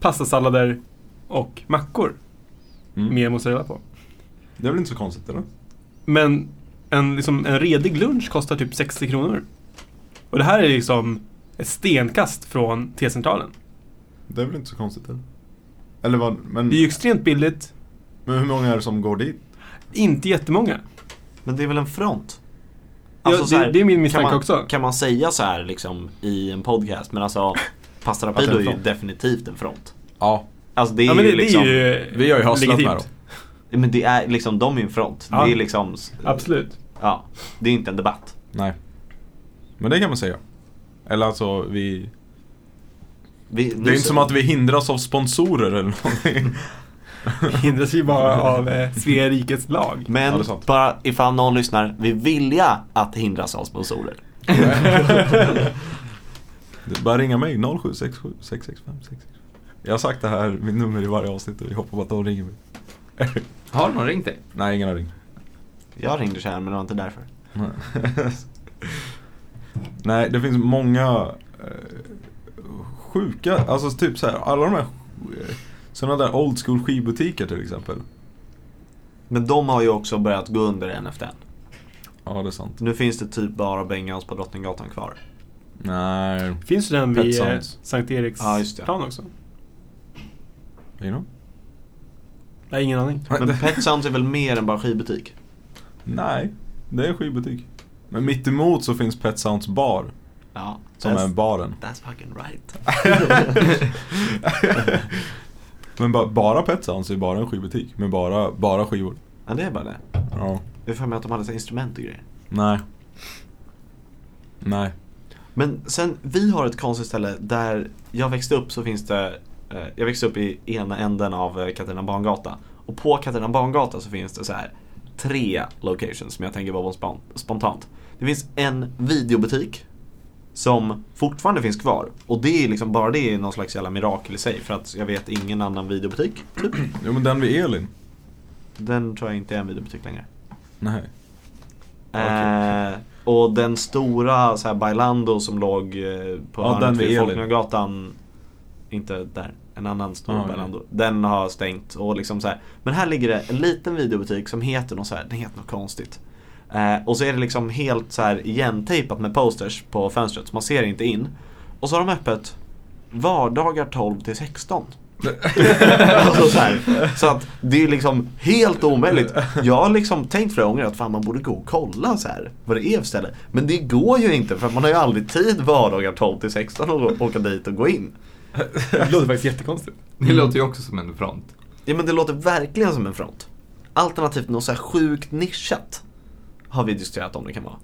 [SPEAKER 5] pastasallader och mackor
[SPEAKER 2] Mm.
[SPEAKER 5] med mozzarella på.
[SPEAKER 2] Det är väl inte så konstigt eller?
[SPEAKER 5] Men en, liksom, en redig lunch kostar typ 60 kronor. Och det här är liksom ett stenkast från T-centralen.
[SPEAKER 2] Det är väl inte så konstigt eller? Eller vad, men,
[SPEAKER 5] Det är ju extremt billigt,
[SPEAKER 2] men hur många är det som går dit?
[SPEAKER 5] inte jättemånga.
[SPEAKER 4] Men det är väl en front? Alltså
[SPEAKER 5] Ja, det- det är min misstanke
[SPEAKER 4] kan man,
[SPEAKER 5] också.
[SPEAKER 4] Kan man säga så här liksom i en podcast? Men alltså, Pasta
[SPEAKER 2] Att det
[SPEAKER 4] Rapido
[SPEAKER 2] är
[SPEAKER 4] är
[SPEAKER 2] en
[SPEAKER 4] ju
[SPEAKER 2] front.
[SPEAKER 4] definitivt en front.
[SPEAKER 2] Ja.
[SPEAKER 4] Alltså det är
[SPEAKER 5] Ja, men
[SPEAKER 4] ju
[SPEAKER 5] det,
[SPEAKER 4] liksom,
[SPEAKER 5] det är ju
[SPEAKER 2] Vi har ju hustlat med
[SPEAKER 5] legitimt.
[SPEAKER 2] dem.
[SPEAKER 4] men det är liksom, de är ju en front.
[SPEAKER 5] Ja.
[SPEAKER 4] Det är liksom, s-
[SPEAKER 5] Absolut.
[SPEAKER 4] ja, det är inte en debatt.
[SPEAKER 2] Nej. Men det kan man säga. Eller alltså vi...
[SPEAKER 4] Vi,
[SPEAKER 2] Det är inte som att vi hindras av sponsorer eller någonting.
[SPEAKER 5] Hindras ju bara av eh, Svea rikets lag.
[SPEAKER 4] Men
[SPEAKER 2] Ja, det är sant.
[SPEAKER 4] bara ifall någon lyssnar, vi vilja att hindras av sponsorer.
[SPEAKER 2] Det är Bara ringa mig, 0767 665 665. Jag har sagt det här, mitt nummer i varje avsnitt och jag hoppas att de ringer mig.
[SPEAKER 3] Har någon ringt dig?
[SPEAKER 2] Nej, ingen har ringt.
[SPEAKER 4] Jag ringde så här men det var inte därför.
[SPEAKER 2] Nej. Nej, det finns många eh, sjuka, alltså typ så här, alla de här eh, sådana där old school skibutiker till exempel.
[SPEAKER 4] Men de har ju också börjat gå under en efter en.
[SPEAKER 2] Ja, det är sant.
[SPEAKER 4] Nu finns det typ bara Bengals på Drottninggatan kvar.
[SPEAKER 2] Nej.
[SPEAKER 5] Finns det den
[SPEAKER 2] Pet
[SPEAKER 5] vid eh,
[SPEAKER 2] Sounds.
[SPEAKER 5] Sankt Eriks
[SPEAKER 4] Ja, just det.
[SPEAKER 5] plan också?
[SPEAKER 2] You know?
[SPEAKER 5] Nej, ingen aning.
[SPEAKER 4] Men Pet Sounds är väl mer än bara skivbutik?
[SPEAKER 2] Nej, det är en skibutik. Men mitt emot så finns Pet Sounds bar,
[SPEAKER 4] Ja.
[SPEAKER 2] som är baren.
[SPEAKER 4] That's fucking right.
[SPEAKER 2] Men ba, bara Pet Sounds är bara en skibutik, med bara, bara skivor.
[SPEAKER 4] ja, det är bara det.
[SPEAKER 2] Ja.
[SPEAKER 4] Jag har för mig att de hade så här instrument och grejer.
[SPEAKER 2] Nej. Nej.
[SPEAKER 4] Men sen, vi har ett konstigt ställe där jag växte upp så finns det eh, Jag växte upp i ena änden av eh, Katarina Barngata Och på Katarina Barngata så finns det så här tre locations som jag tänker på spon- spontant Det finns en videobutik som fortfarande finns kvar och det är liksom bara det är någon slags jävla mirakel i sig för att jag vet ingen annan videobutik typ.
[SPEAKER 2] Jo men den vid Elin.
[SPEAKER 4] Den tror jag inte är en videobutik längre
[SPEAKER 2] Nej.
[SPEAKER 4] Eh, och den stora så här, Bailando som låg eh, på
[SPEAKER 2] Ja, den
[SPEAKER 4] hörnet
[SPEAKER 2] vid
[SPEAKER 4] vid
[SPEAKER 2] Elin.
[SPEAKER 4] Folkungagatan. Inte där, en annan stor
[SPEAKER 2] Ja,
[SPEAKER 4] Bailando. Den har stängt och liksom så här. Men här ligger det en liten videobutik som heter något så här, den heter något konstigt. Eh, och så är det liksom helt så här igentejpat med posters på fönstret så man ser inte in. Och så har de öppet vardagar 12 till 16. alltså så, här. så att det är liksom helt omöjligt. Jag har liksom tänkt flera gånger att fan man borde gå och kolla så här vad det är för ställe. Men det går ju inte för att man har ju aldrig tid vardagar 12 till 16 att åka dit och gå in.
[SPEAKER 5] Det låter faktiskt jättekonstigt.
[SPEAKER 3] Det låter ju också som en front.
[SPEAKER 4] Ja men det låter verkligen som en front. Alternativt något så här sjukt nischat. Har vi diskuterat om det kan vara.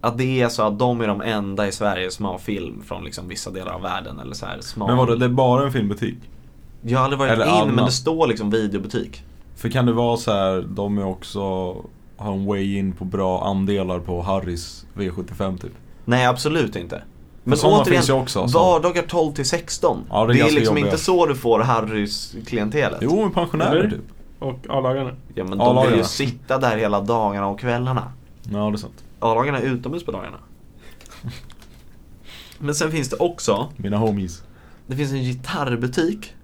[SPEAKER 4] Att det är så att de är de enda i Sverige som har film från liksom vissa delar av världen eller så här smal.
[SPEAKER 2] Men vadå, det är bara en filmbutik?
[SPEAKER 4] Jag har aldrig varit
[SPEAKER 2] Eller
[SPEAKER 4] in men
[SPEAKER 2] annat.
[SPEAKER 4] det står liksom videobutik.
[SPEAKER 2] För kan det vara så här, de är också, har en way in på bra andelar på Harrys V75 typ?
[SPEAKER 4] Nej absolut inte. Men
[SPEAKER 2] sådana
[SPEAKER 4] återigen,
[SPEAKER 2] finns ju också, alltså.
[SPEAKER 4] vardagar 12 till 16.
[SPEAKER 2] Ja, det är
[SPEAKER 4] det är
[SPEAKER 2] ganska
[SPEAKER 4] liksom
[SPEAKER 2] jobbiga.
[SPEAKER 4] inte så du får Harrys klientelet.
[SPEAKER 2] Jo, men pensionärer
[SPEAKER 5] Eller?
[SPEAKER 2] typ.
[SPEAKER 5] Och A-lagarna.
[SPEAKER 4] Ja men de
[SPEAKER 2] A-lagarna.
[SPEAKER 4] vill ju sitta där hela dagarna och kvällarna.
[SPEAKER 2] Ja, det är sant.
[SPEAKER 4] A-lagarna är utomhus på dagarna. Men sen finns det också,
[SPEAKER 2] Mina homies.
[SPEAKER 4] det finns en gitarrbutik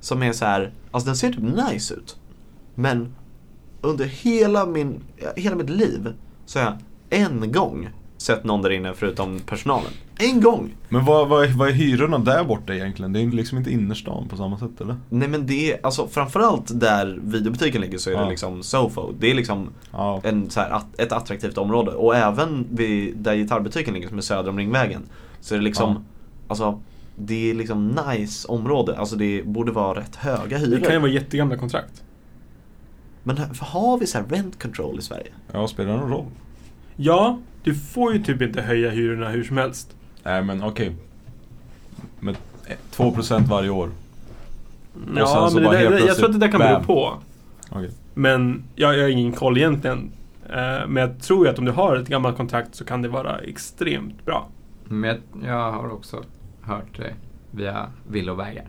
[SPEAKER 4] som är så här, alltså den ser typ nice ut. Men under hela, min, hela mitt liv så har jag en gång sett någon där inne förutom personalen. En gång!
[SPEAKER 2] Men vad, vad, är- vad är hyrorna där borta egentligen? Det är liksom inte innerstan på samma sätt eller?
[SPEAKER 4] Nej men det är, alltså framförallt där videobutiken ligger så är det
[SPEAKER 2] Ja.
[SPEAKER 4] liksom Sofo. Det är liksom
[SPEAKER 2] Ja.
[SPEAKER 4] en, så här, att, ett attraktivt område. Och även vid, där gitarrbutiken ligger som är söder om Ringvägen. Så är det liksom,
[SPEAKER 2] Ja.
[SPEAKER 4] alltså det är liksom nice område. Alltså det borde vara rätt höga
[SPEAKER 5] Det kan ju
[SPEAKER 4] hyror.
[SPEAKER 5] vara jättegamla kontrakt.
[SPEAKER 4] Men här- har vi så här rent control i Sverige?
[SPEAKER 2] Ja, spelar det någon roll?
[SPEAKER 5] Ja, du får ju typ inte höja hyrorna hur som helst.
[SPEAKER 2] Nej, men okej. Med 2% varje år. Mm. sen
[SPEAKER 5] Ja,
[SPEAKER 2] så
[SPEAKER 5] men det
[SPEAKER 2] bara
[SPEAKER 5] där,
[SPEAKER 2] helt
[SPEAKER 5] det- jag tror att det där kan bero
[SPEAKER 2] plötsligt,
[SPEAKER 5] på.
[SPEAKER 2] Okej.
[SPEAKER 5] Men jag, jag har ingen koll egentligen. Eh, Men jag tror ju att om du har ett gammalt kontrakt så kan det vara extremt bra.
[SPEAKER 3] Men jag, jag har också hört det via villovägar.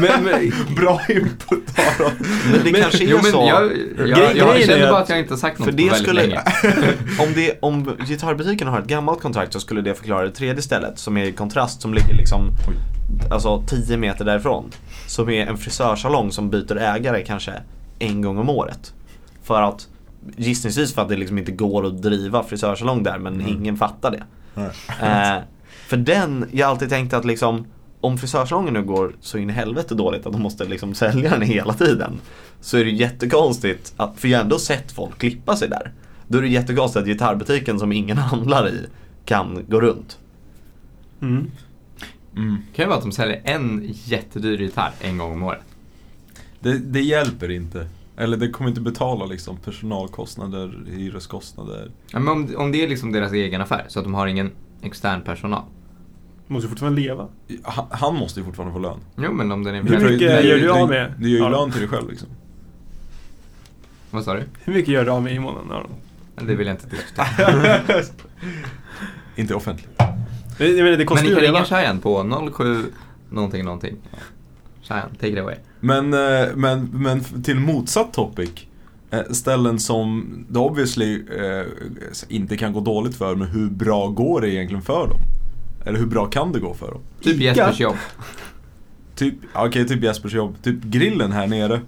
[SPEAKER 5] Men, men,
[SPEAKER 2] Bra input Aron.
[SPEAKER 4] Men det kanske är
[SPEAKER 3] Jo, men
[SPEAKER 4] så.
[SPEAKER 3] jag, jag,
[SPEAKER 5] grejen
[SPEAKER 3] jag
[SPEAKER 5] är
[SPEAKER 3] känner bara
[SPEAKER 5] att-
[SPEAKER 3] att jag inte har sagt något
[SPEAKER 4] För
[SPEAKER 3] på
[SPEAKER 4] det
[SPEAKER 3] väldigt
[SPEAKER 4] skulle,
[SPEAKER 3] länge.
[SPEAKER 4] om, det, om gitarrbutiken har ett gammalt kontrakt så skulle det förklara det tredje stället som är i kontrast som ligger liksom
[SPEAKER 2] Oj.
[SPEAKER 4] alltså 10 meter därifrån. Som är en frisörsalong som byter ägare kanske en gång om året. För att gissningsvis för att det liksom inte går att driva frisörsalong där men ingen fattar det.
[SPEAKER 2] Nej.
[SPEAKER 4] Eh, för den, jag har alltid tänkt att liksom om frisörsalongen nu går så in i helvete dåligt att de måste liksom sälja den hela tiden. Så är det jättekonstigt, att, för jag har ändå sett folk klippa sig där. Då är det jättekonstigt att gitarrbutiken som ingen handlar i kan gå runt.
[SPEAKER 5] mm.
[SPEAKER 2] Mm.
[SPEAKER 3] Det kan ju vara att de säljer en jättedyr gitarr en gång om året.
[SPEAKER 2] Det, det hjälper inte. Eller det kommer inte betala liksom personalkostnader, hyreskostnader.
[SPEAKER 3] Ja, men om, om det är liksom deras egen affär, så att de har ingen extern personal.
[SPEAKER 5] Måste ju fortfarande leva.
[SPEAKER 2] Han, han måste ju fortfarande få lön.
[SPEAKER 3] Jo, men om den är...
[SPEAKER 5] Hur mycket
[SPEAKER 2] Det- det-
[SPEAKER 5] gör du
[SPEAKER 2] det-
[SPEAKER 5] av med?
[SPEAKER 2] Du gör ju
[SPEAKER 5] Aron?
[SPEAKER 2] lön till dig själv liksom.
[SPEAKER 3] Vad sa du?
[SPEAKER 5] Hur mycket gör du av med i månaden Aron?
[SPEAKER 3] Det vill jag inte diskutera.
[SPEAKER 5] Ah,
[SPEAKER 2] Inte offentligt.
[SPEAKER 5] Men, jag menar, det
[SPEAKER 3] Men
[SPEAKER 5] kostar
[SPEAKER 3] ni
[SPEAKER 5] ju
[SPEAKER 3] kan
[SPEAKER 5] att
[SPEAKER 3] ringa
[SPEAKER 5] leva.
[SPEAKER 3] Shayan på 07 någonting någonting. Shayan, take it away.
[SPEAKER 2] Men, eh, men, men f- till motsatt topic. eh, Ställen som det obviously eh, inte kan gå dåligt för, men hur bra går det egentligen för dem? Eller hur bra kan det gå för dem?
[SPEAKER 3] Typ
[SPEAKER 5] Ica.
[SPEAKER 3] Jespers jobb.
[SPEAKER 2] Typ, okej, typ Jespers jobb. Typ grillen här nere.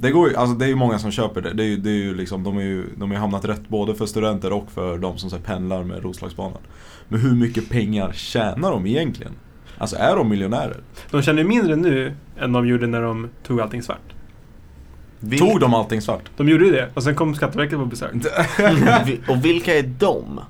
[SPEAKER 2] Det, går ju, alltså det är ju många som köper det. det, är ju, det är ju liksom, de har ju de har ju hamnat rätt både för studenter och för de som så här, pendlar med Roslagsbanan. Men hur mycket pengar tjänar de egentligen? Alltså är de miljonärer?
[SPEAKER 5] De känner ju mindre nu än de gjorde när de tog allting svart.
[SPEAKER 4] Vil-
[SPEAKER 2] Tog de allting svart?
[SPEAKER 5] De gjorde ju det och sen kom Skatteverket på besök.
[SPEAKER 4] Mm, Vi- Och vilka är de?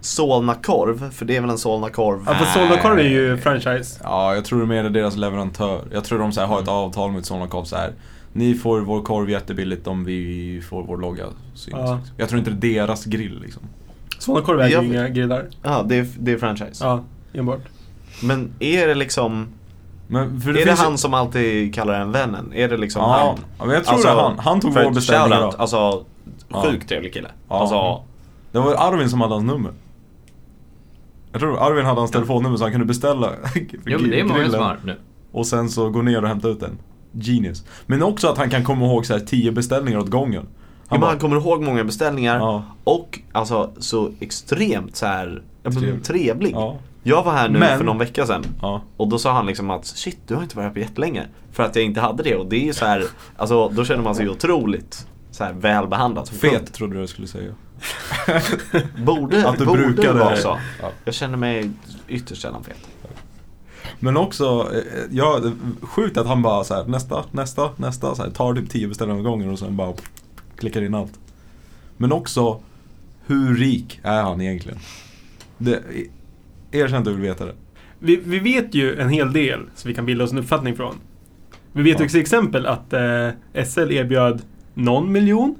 [SPEAKER 4] Solna korv, för det är väl en Solna korv?
[SPEAKER 5] Ja, fast Solnakorv är ju franchise.
[SPEAKER 2] Ja, jag tror det mer är deras leverantör. Jag tror de så här, har ett
[SPEAKER 4] Mm.
[SPEAKER 2] avtal med Solna Korv så här. Ni får vår korv jättebilligt om vi får vår logga synas.
[SPEAKER 5] Ja.
[SPEAKER 2] liksom. Jag tror inte det är deras grill liksom.
[SPEAKER 5] Solnakorv äger
[SPEAKER 4] Jag-
[SPEAKER 5] ju inga grillar.
[SPEAKER 4] Ja, det är, det är franchise.
[SPEAKER 5] Ja, enbart.
[SPEAKER 4] Men är det liksom,
[SPEAKER 2] Men för
[SPEAKER 4] är det
[SPEAKER 2] finns ju-
[SPEAKER 4] han som alltid kallar en vännen? Är det liksom
[SPEAKER 2] Ja,
[SPEAKER 4] han? Alltså,
[SPEAKER 2] ja, men jag tror det är han. Han tog
[SPEAKER 4] för
[SPEAKER 2] vår
[SPEAKER 4] ett
[SPEAKER 2] beställning
[SPEAKER 4] shoutout,
[SPEAKER 2] idag.
[SPEAKER 4] Alltså,
[SPEAKER 2] Ja.
[SPEAKER 4] sjukt trevlig kille.
[SPEAKER 2] Ja.
[SPEAKER 4] Alltså,
[SPEAKER 2] Det var Arvin som hade hans nummer. Jag tror Arvin hade hans telefonnummer så han kunde beställa
[SPEAKER 3] Jo, men det är många som
[SPEAKER 2] grillen.
[SPEAKER 3] har nu.
[SPEAKER 2] Och sen så gå ner och hämta ut den. Genius. Men också att han kan komma ihåg så här tio beställningar åt gången.
[SPEAKER 4] han,
[SPEAKER 2] Han bara,
[SPEAKER 4] han kommer ihåg många beställningar
[SPEAKER 2] Ja.
[SPEAKER 4] och alltså så extremt så här ja, men
[SPEAKER 2] Trevlig.
[SPEAKER 4] trevlig.
[SPEAKER 2] Ja.
[SPEAKER 4] Jag var här nu
[SPEAKER 2] Men-
[SPEAKER 4] för någon vecka sedan
[SPEAKER 2] Ja.
[SPEAKER 4] och då sa han liksom att shit, du har inte varit här på jättelänge. För att jag inte hade det och det är ju så här, alltså då känner man sig otroligt så här välbehandlad.
[SPEAKER 2] Fet trodde jag du skulle säga.
[SPEAKER 4] Borde,
[SPEAKER 2] Att du
[SPEAKER 4] borde
[SPEAKER 2] brukade-
[SPEAKER 4] vara så.
[SPEAKER 2] Ja.
[SPEAKER 4] Jag känner mig ytterst sällan fet.
[SPEAKER 2] Men också, eh, ja, sjukt att han bara så här, nästa, nästa, nästa. Så här, tar typ tio beställningar åt gången och sen bara klickar in allt. Men också, hur rik är han egentligen? Det, erkänn att du vill veta det.
[SPEAKER 5] Vi, vi vet ju en hel del som vi kan bilda oss en uppfattning från. Vi vet
[SPEAKER 2] Ja.
[SPEAKER 5] ju till exempel att eh, SL erbjöd någon miljon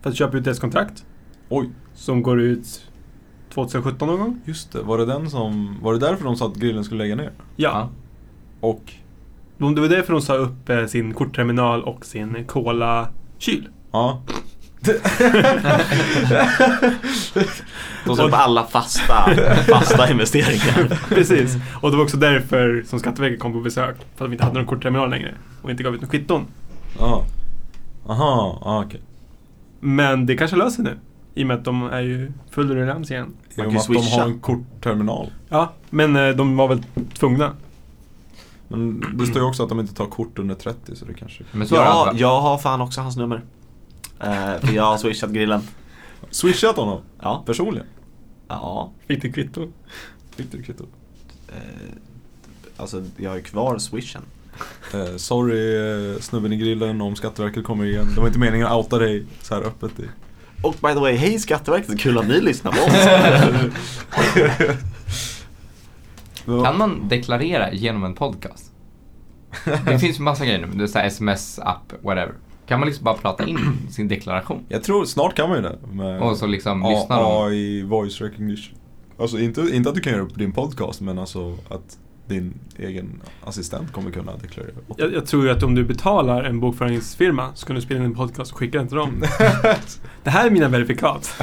[SPEAKER 5] För att köpa ut deras kontrakt.
[SPEAKER 2] Oj,
[SPEAKER 5] Som går ut 2017 någon gång.
[SPEAKER 2] just det. Var det, den som, var det därför de sa att grillen skulle lägga ner?
[SPEAKER 5] Ja.
[SPEAKER 2] Och?
[SPEAKER 5] De, det var därför de sa upp eh, sin kortterminal och sin Cola-kyl.
[SPEAKER 2] Ja.
[SPEAKER 4] De sa upp alla fasta, fasta investeringar.
[SPEAKER 5] Ah. Precis. Och det var också därför som Skatteverket kom på besök. För att de inte hade någon kortterminal längre. Och inte gav ut något kvitton.
[SPEAKER 2] Ja. Aha, ja, okej.
[SPEAKER 5] Men det kanske löser sig nu. I och med att de är ju full ruljans igen.
[SPEAKER 2] I
[SPEAKER 4] Man
[SPEAKER 2] och
[SPEAKER 4] kan ju
[SPEAKER 2] med att de
[SPEAKER 4] swisha.
[SPEAKER 2] har en kortterminal.
[SPEAKER 5] Ja, men eh, de var väl tvungna.
[SPEAKER 2] Men det
[SPEAKER 4] Mm.
[SPEAKER 2] står ju också att de inte tar kort under 30 så det kanske...
[SPEAKER 3] Men så har
[SPEAKER 4] Ja,
[SPEAKER 3] han-
[SPEAKER 4] jag har fan också hans nummer. Eh, för jag har swishat grillen.
[SPEAKER 2] Swishat honom?
[SPEAKER 4] Ja.
[SPEAKER 2] Personligen?
[SPEAKER 4] Ja.
[SPEAKER 5] Fick du kvitton?
[SPEAKER 2] Fick du kvitto?
[SPEAKER 4] Eh, alltså, jag har kvar swishen.
[SPEAKER 2] Eh, sorry eh, snubben i grillen om Skatteverket kommer igen. Det var inte meningen att outa dig så här öppet. I.
[SPEAKER 4] Och by the way, hej Skatteverket, kul att ni lyssnar på oss.
[SPEAKER 3] Kan man deklarera genom en podcast? Det finns ju massa grejer nu, det är så här sms, app, whatever. Kan man liksom bara prata in sin deklaration?
[SPEAKER 2] Jag tror snart kan man ju det. Med
[SPEAKER 3] Och så liksom
[SPEAKER 2] A-
[SPEAKER 3] lyssnar de.
[SPEAKER 2] AI voice recognition. Alltså inte, inte att du kan göra det på din podcast men alltså att din egen assistent kommer kunna deklarera.
[SPEAKER 5] Jag, jag tror ju att om du betalar en bokföringsfirma så kan du spela in en podcast och skicka den till dem. Det här är mina verifikat.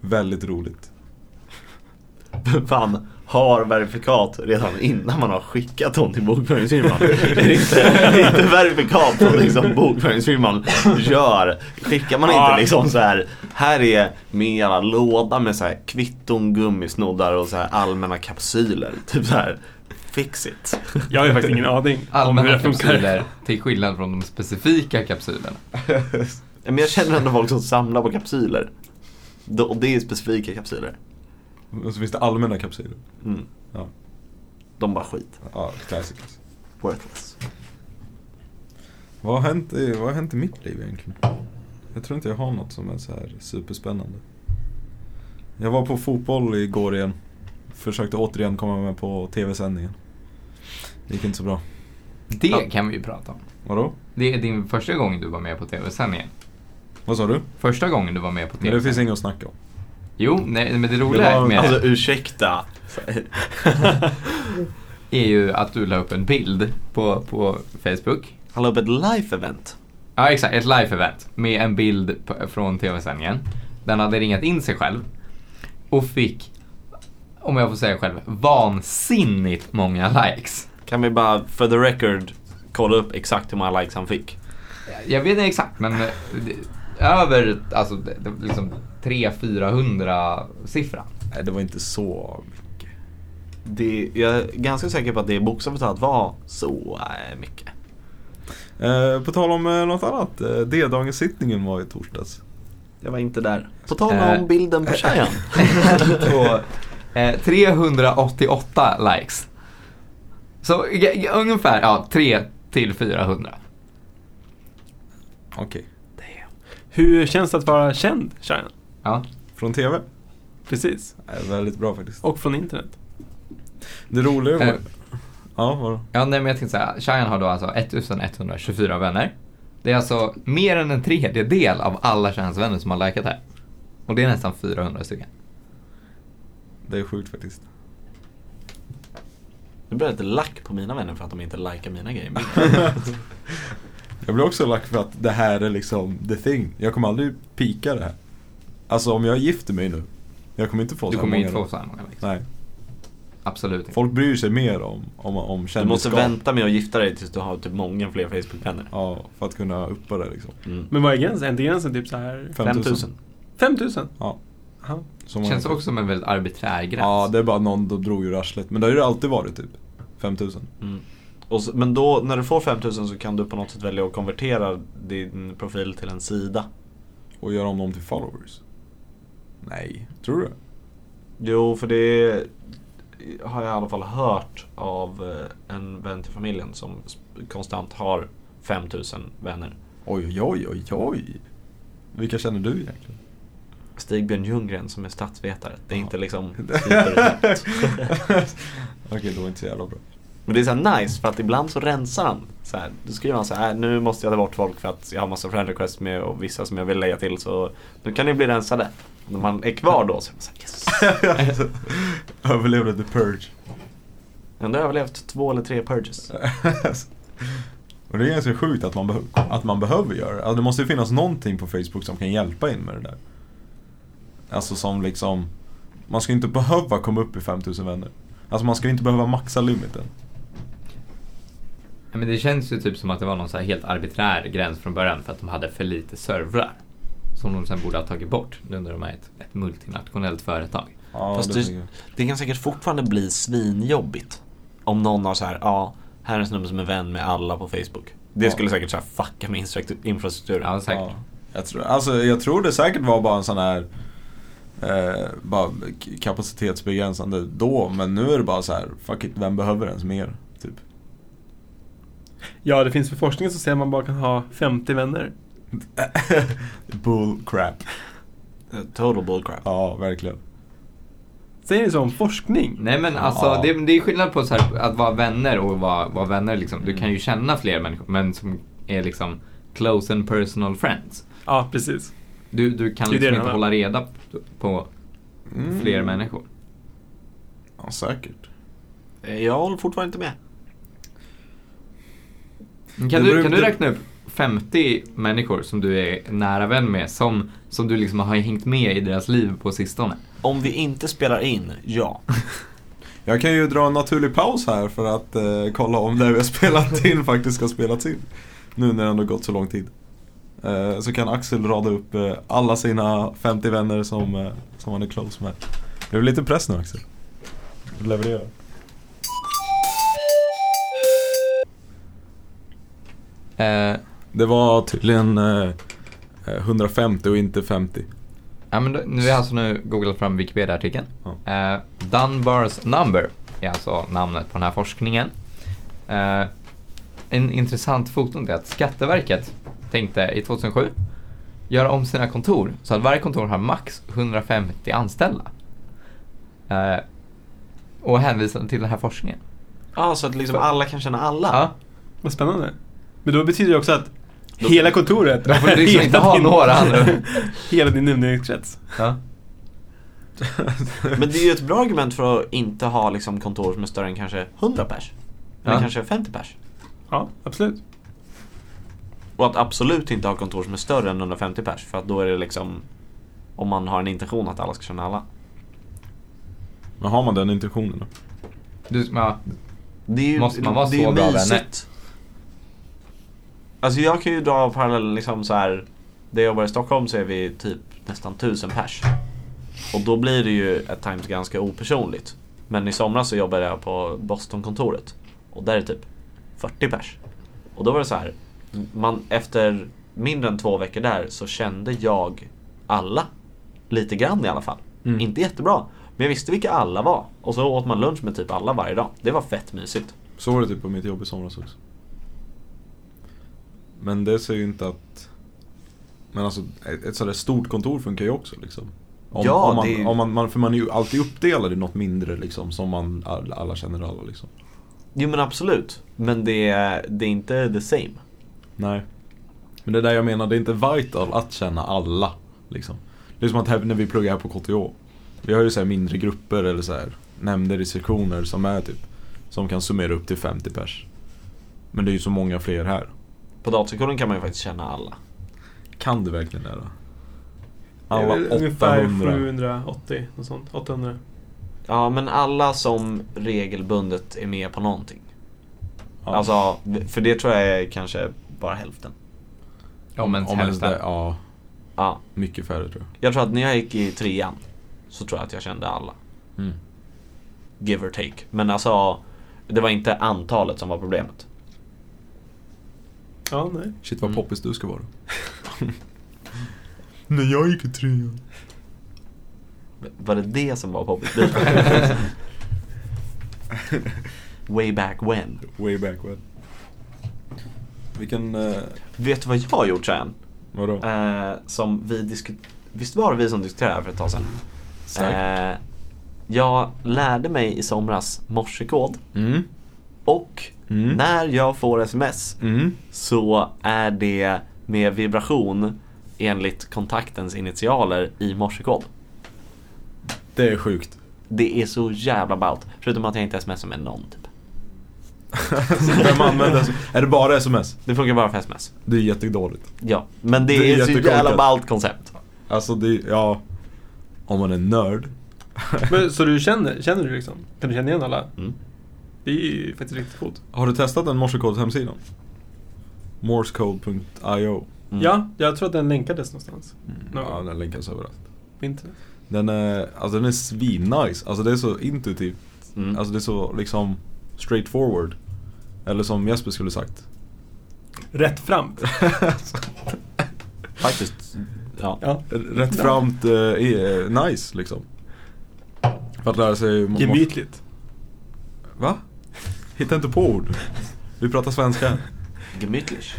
[SPEAKER 2] Väldigt roligt.
[SPEAKER 4] fan har verifikat redan innan man har skickat dem till bokföringsfirman. Det är inte, det är inte verifikat som liksom bokföringsfirman gör. Skickar man inte liksom så här, här är min jävla låda med så här kvitton, gummisnoddar och så här allmänna kapsyler. Typ så här, fix it.
[SPEAKER 5] Jag har ju faktiskt ingen aning om hur
[SPEAKER 3] Allmänna
[SPEAKER 5] det funkar.
[SPEAKER 3] kapsyler till skillnad från de specifika kapsylerna.
[SPEAKER 4] Men jag känner ändå folk som samlar på kapsyler. Då- Och det är specifika kapsyler.
[SPEAKER 2] Och så finns det allmänna kapsyler.
[SPEAKER 4] Mm.
[SPEAKER 2] Ja,
[SPEAKER 4] De bara skit.
[SPEAKER 2] ja classic.
[SPEAKER 4] Worthless.
[SPEAKER 2] Vad har, hänt i, vad har hänt i mitt liv egentligen? Jag tror inte jag har något som är så här superspännande. Jag var på fotboll igår igen. Försökte återigen komma med på tv-sändningen. Det gick inte så bra.
[SPEAKER 3] Det kan vi ju prata om.
[SPEAKER 2] Vadå?
[SPEAKER 3] Det är din första gång du var med på tv-sändningen.
[SPEAKER 2] Vad sa du?
[SPEAKER 3] Första gången du var med på
[SPEAKER 2] Men det finns
[SPEAKER 3] tv-sändningen.
[SPEAKER 2] inget att snacka om.
[SPEAKER 3] Jo, nej, men det
[SPEAKER 2] Det
[SPEAKER 3] roliga
[SPEAKER 2] var-
[SPEAKER 3] med
[SPEAKER 4] Alltså
[SPEAKER 3] det
[SPEAKER 4] ursäkta.
[SPEAKER 3] är ju att du la upp en bild på, på Facebook.
[SPEAKER 4] Han la upp ett live-event.
[SPEAKER 3] Ja, exakt. Ett live-event med en bild på, från tv-sändningen. Den hade ringat in sig själv och fick, om jag får säga själv, vansinnigt många likes.
[SPEAKER 4] Kan vi bara, för the record, kolla upp exakt hur många likes han fick?
[SPEAKER 3] Jag vet inte exakt, men eh, det- över alltså, det- det- liksom 300-400 siffran.
[SPEAKER 2] Nej, det var inte så mycket.
[SPEAKER 4] Det, jag är ganska säker på att det bokstavligt talat var så eh, mycket.
[SPEAKER 2] Eh, på tal om eh, något annat. Eh, D-dagens sittningen var i torsdags.
[SPEAKER 4] Jag var inte där. På tal om
[SPEAKER 3] Eh.
[SPEAKER 4] bilden på tjejen.
[SPEAKER 3] på eh, 388 likes. Så g- g- ungefär ja, 3 till 400.
[SPEAKER 2] Okej.
[SPEAKER 5] Hur känns det att vara känd, Shayan?
[SPEAKER 3] Ja.
[SPEAKER 2] Från tv?
[SPEAKER 5] Precis.
[SPEAKER 2] Eh, väldigt bra faktiskt.
[SPEAKER 5] Och från internet.
[SPEAKER 2] Det roliga var...
[SPEAKER 3] Eh,
[SPEAKER 2] Ja, vadå?
[SPEAKER 3] Ja, nej, men jag tänkte säga, Cheyenne har då alltså 1124 vänner. Det är alltså mer än en tredjedel av alla Cheyennes vänner som har likat här. Och det är nästan 400 stycken.
[SPEAKER 2] Det är sjukt faktiskt.
[SPEAKER 4] Nu blir jag lite lack på mina vänner för att de inte likar mina grejer.
[SPEAKER 2] Jag blir också lack för att det här är liksom the thing. Jag kommer aldrig pika det här. Alltså om jag gifter mig nu. Jag kommer inte få så
[SPEAKER 3] Du
[SPEAKER 2] här
[SPEAKER 3] kommer
[SPEAKER 2] många
[SPEAKER 3] inte få
[SPEAKER 2] då.
[SPEAKER 3] så här många likes.
[SPEAKER 2] Nej.
[SPEAKER 3] Absolut inte.
[SPEAKER 2] Folk bryr sig mer om, om, om
[SPEAKER 4] Du måste
[SPEAKER 2] kändisskap.
[SPEAKER 4] vänta med att gifta dig tills du har typ många fler Facebook-vänner.
[SPEAKER 2] Ja, för att kunna uppa det liksom.
[SPEAKER 4] Mm.
[SPEAKER 5] Men vad är gränsen? Är inte gränsen typ så här
[SPEAKER 4] 5000.
[SPEAKER 5] 5000?
[SPEAKER 2] Ja.
[SPEAKER 5] Jaha.
[SPEAKER 2] Så
[SPEAKER 3] Det
[SPEAKER 2] många.
[SPEAKER 3] känns också som en väldigt arbiträr gräns.
[SPEAKER 2] Ja, det är bara någon då drog ju arslet. Men det har ju alltid varit typ 5000.
[SPEAKER 4] Mm. Och så, men då, när du får 5000 så kan du på något sätt välja att konvertera din profil till en sida.
[SPEAKER 2] Och göra om dem till followers. Nej, tror du det?
[SPEAKER 4] Jo, för det har jag i alla fall hört av eh, en vän till familjen som sp- konstant har 5000 vänner.
[SPEAKER 2] Oj, oj, oj, oj. Vilka känner du egentligen?
[SPEAKER 4] Stigbjörn Ljunggren som är statsvetare. Det är liksom
[SPEAKER 2] Ja.
[SPEAKER 4] inte liksom superhett.
[SPEAKER 2] Okej, det var inte så jävla bra.
[SPEAKER 4] Men det är så här nice för att ibland så rensar han. Så här, då skriver han så här, "Äh, nu måste jag ta bort folk för att jag har massa friend requests med och vissa som jag vill lägga till så nu kan ni bli rensade. När man är kvar då så är man så här, yes.
[SPEAKER 2] Överlevde the purge.
[SPEAKER 4] Jag har överlevt två eller tre purges.
[SPEAKER 2] Och det är ganska sjukt att man, behö- att man behöver göra det. Alltså, det måste ju finnas någonting på Facebook som kan hjälpa in med det där. Alltså som liksom, man ska ju inte behöva komma upp i 5000 vänner. Alltså man ska ju inte behöva maxa limiten.
[SPEAKER 3] Ja, men det känns ju typ som att det var någon så här helt arbiträr gräns från början för att de hade för lite servrar. Som de sen borde ha tagit bort nu när de är ett, ett multinationellt företag.
[SPEAKER 2] Ja,
[SPEAKER 4] Fast
[SPEAKER 2] det
[SPEAKER 4] det,
[SPEAKER 2] tycker jag.
[SPEAKER 4] det kan säkert fortfarande bli svinjobbigt. Om någon har så här, ja, här är en snubbe som är vän med alla på Facebook. Det
[SPEAKER 2] Ja.
[SPEAKER 4] skulle säkert så här fucka med infrastruktur- infrastrukturen.
[SPEAKER 3] Ja, säkert.
[SPEAKER 2] Ja, jag, tror, alltså, jag tror det säkert var bara en sån här eh, bara k- kapacitetsbegränsande då, men nu är det bara så här, fuck it, vem behöver ens mer? Typ.
[SPEAKER 5] Ja, det finns för forskningen som säger att man bara kan ha 50 vänner.
[SPEAKER 2] Bull crap.
[SPEAKER 4] Total bullcrap.
[SPEAKER 2] Ja, verkligen.
[SPEAKER 5] Säger ni så om forskning?
[SPEAKER 3] Nej men alltså
[SPEAKER 2] Ja.
[SPEAKER 3] det, det är skillnad på så här, att vara vänner och vara, vara vänner liksom. Du kan
[SPEAKER 2] Mm.
[SPEAKER 3] ju känna fler människor men som är liksom close and personal friends.
[SPEAKER 5] Ja, precis.
[SPEAKER 3] Du, du kan
[SPEAKER 5] Det
[SPEAKER 3] liksom
[SPEAKER 5] är det
[SPEAKER 3] inte
[SPEAKER 5] de är.
[SPEAKER 3] hålla reda p- på
[SPEAKER 2] Mm.
[SPEAKER 3] fler människor.
[SPEAKER 2] Ja, säkert.
[SPEAKER 4] Eh, Jag håller fortfarande inte med.
[SPEAKER 2] Mm.
[SPEAKER 3] Kan
[SPEAKER 2] Det
[SPEAKER 3] du,
[SPEAKER 2] beror-
[SPEAKER 3] kan du
[SPEAKER 2] det-
[SPEAKER 3] räkna upp 50 människor som du är nära vän med som, som du liksom har hängt med i deras liv på sistone?
[SPEAKER 4] Om vi inte spelar in, ja.
[SPEAKER 2] Jag kan ju dra en naturlig paus här för att eh, kolla om det vi har spelat in faktiskt ska spelas in. Nu när det ändå gått så lång tid. Eh, så kan Axel rada upp eh, alla sina 50 vänner som, eh, som han är close med. Det är lite press nu Axel. Leverera.
[SPEAKER 3] Eh,
[SPEAKER 2] Det var tydligen eh, eh, 150 och inte 50.
[SPEAKER 3] Ja, men då, nu har alltså nu googlat fram Wikipedia-artikeln. Eh, Dunbars number är alltså namnet på den här forskningen. Eh, en intressant fotnot är att Skatteverket tänkte i 2007 göra om sina kontor så att varje kontor har max 150 anställda. Eh, och hänvisade till den här forskningen.
[SPEAKER 4] Ja, så att liksom alla kan känna alla.
[SPEAKER 3] Ja,
[SPEAKER 5] Vad spännande. Men då betyder det också att hela kontoret...
[SPEAKER 3] får du liksom inte ha några andra.
[SPEAKER 5] hela din umgängeskrets.
[SPEAKER 3] ja.
[SPEAKER 4] Men det är ju ett bra argument för att inte ha liksom kontor som är större än kanske 100 pers. Eller
[SPEAKER 3] Ja.
[SPEAKER 4] kanske 50 pers.
[SPEAKER 5] Ja, absolut.
[SPEAKER 4] Och att absolut inte ha kontor som är större än 150 pers. För att då är det liksom, om man har en intention att alla ska känna alla.
[SPEAKER 2] Men har man den intentionen då?
[SPEAKER 3] Du, ja.
[SPEAKER 4] Det är ju,
[SPEAKER 3] Måste man vara
[SPEAKER 4] det är
[SPEAKER 3] så
[SPEAKER 4] ju
[SPEAKER 3] bra
[SPEAKER 4] mysigt.
[SPEAKER 3] vänner?
[SPEAKER 4] Alltså jag kan ju dra parallellen liksom så här. Där jag jobbar i Stockholm så är vi typ nästan tusen pers. Och då blir det ju at times ganska opersonligt. Men i somras så jobbade jag på Boston-kontoret. Och där är det typ 40 pers. Och då var det så här. Man, efter mindre än två veckor där så kände jag alla. Lite grann i alla fall.
[SPEAKER 3] Mm.
[SPEAKER 4] Inte jättebra. Men jag visste vilka alla var. Och så åt man lunch med typ alla varje dag. Det var fett mysigt.
[SPEAKER 2] Så var det typ på mitt jobb i somras också. Men det säger ju inte att... Men alltså ett ett sådär stort kontor funkar ju också liksom. Om,
[SPEAKER 4] Ja,
[SPEAKER 2] om man,
[SPEAKER 4] det är ju-
[SPEAKER 2] om man, man, för man är ju alltid uppdelad i något mindre liksom som man alla, alla känner alla liksom.
[SPEAKER 4] Jo men absolut. Men det är, det är inte the same.
[SPEAKER 2] Nej. Men det är där jag menar, det är inte vital att känna alla. Liksom. Det är som att här, när vi pluggar här på KTH. Vi har ju så här mindre grupper eller så här nämnder i sektioner som är typ som kan summera upp till 50 pers. Men det är ju så många fler här.
[SPEAKER 4] På dataskolan kan man ju faktiskt känna alla.
[SPEAKER 2] Kan du verkligen det då?
[SPEAKER 5] Det
[SPEAKER 2] Alla
[SPEAKER 5] är väl Ungefär
[SPEAKER 2] 800.
[SPEAKER 5] 780, något sånt. 800.
[SPEAKER 4] Ja men alla som regelbundet är med på någonting.
[SPEAKER 2] Ja.
[SPEAKER 4] Alltså, för det tror jag är kanske bara hälften.
[SPEAKER 3] Om ens
[SPEAKER 2] Om ens
[SPEAKER 3] hälften.
[SPEAKER 2] det, ja.
[SPEAKER 4] Ja.
[SPEAKER 2] Mycket färre tror jag.
[SPEAKER 4] Jag tror att när jag gick i trean så tror jag att jag kände alla.
[SPEAKER 2] Mm.
[SPEAKER 4] Give or take. Men alltså, det var inte antalet som var problemet.
[SPEAKER 5] Ja, nej.
[SPEAKER 2] Shit vad poppis du ska vara. När jag gick i trean.
[SPEAKER 4] Var det det som var poppis? Way back when.
[SPEAKER 2] Way back when. Vilken, eh,
[SPEAKER 4] Vet du vad jag har gjort sen?
[SPEAKER 2] vadå?
[SPEAKER 4] Eh, som vi diskuterade, visst var det vi som diskuterade det här för ett tag sedan?
[SPEAKER 2] Säkert.
[SPEAKER 4] Eh, jag lärde mig i somras morsekod
[SPEAKER 2] Mm.
[SPEAKER 4] Och
[SPEAKER 2] Mm.
[SPEAKER 4] när jag får sms
[SPEAKER 2] Mm.
[SPEAKER 4] så är det med vibration enligt kontaktens initialer i morsekod.
[SPEAKER 2] Det är sjukt.
[SPEAKER 4] Det är så jävla ballt. Förutom att jag inte smsar med någon typ.
[SPEAKER 2] Vem använder Är det bara sms?
[SPEAKER 4] Det funkar bara för sms.
[SPEAKER 2] Det är jättedåligt.
[SPEAKER 4] Ja, men det,
[SPEAKER 2] Det är
[SPEAKER 4] är, så jävla
[SPEAKER 2] jättekorkat.
[SPEAKER 4] ballt koncept.
[SPEAKER 2] Alltså det, ja. Om man är nörd.
[SPEAKER 5] Men, så du känner, känner du liksom? Kan du känna igen alla?
[SPEAKER 4] Mm.
[SPEAKER 5] Det är ju faktiskt riktigt coolt.
[SPEAKER 2] Har du testat den morsekods hemsidan? Morsecode.io
[SPEAKER 4] Mm.
[SPEAKER 5] Ja, jag tror att den länkades någonstans.
[SPEAKER 3] Mm.
[SPEAKER 5] No.
[SPEAKER 2] Ja, den länkas överallt.
[SPEAKER 5] På internet.
[SPEAKER 2] Den är, alltså den är svinnice. Alltså det är så intuitivt.
[SPEAKER 4] Mm.
[SPEAKER 2] Alltså det är så liksom straightforward. Eller som Jesper skulle sagt.
[SPEAKER 5] Rätt fram.
[SPEAKER 4] Faktiskt. Ja.
[SPEAKER 5] Ja.
[SPEAKER 2] Rätt framt eh, är, eh, nice liksom. För att lära sig... mors-
[SPEAKER 5] Gemytligt.
[SPEAKER 2] Va? Hitta inte på ord. Vi pratar svenska.
[SPEAKER 4] Gemütlich.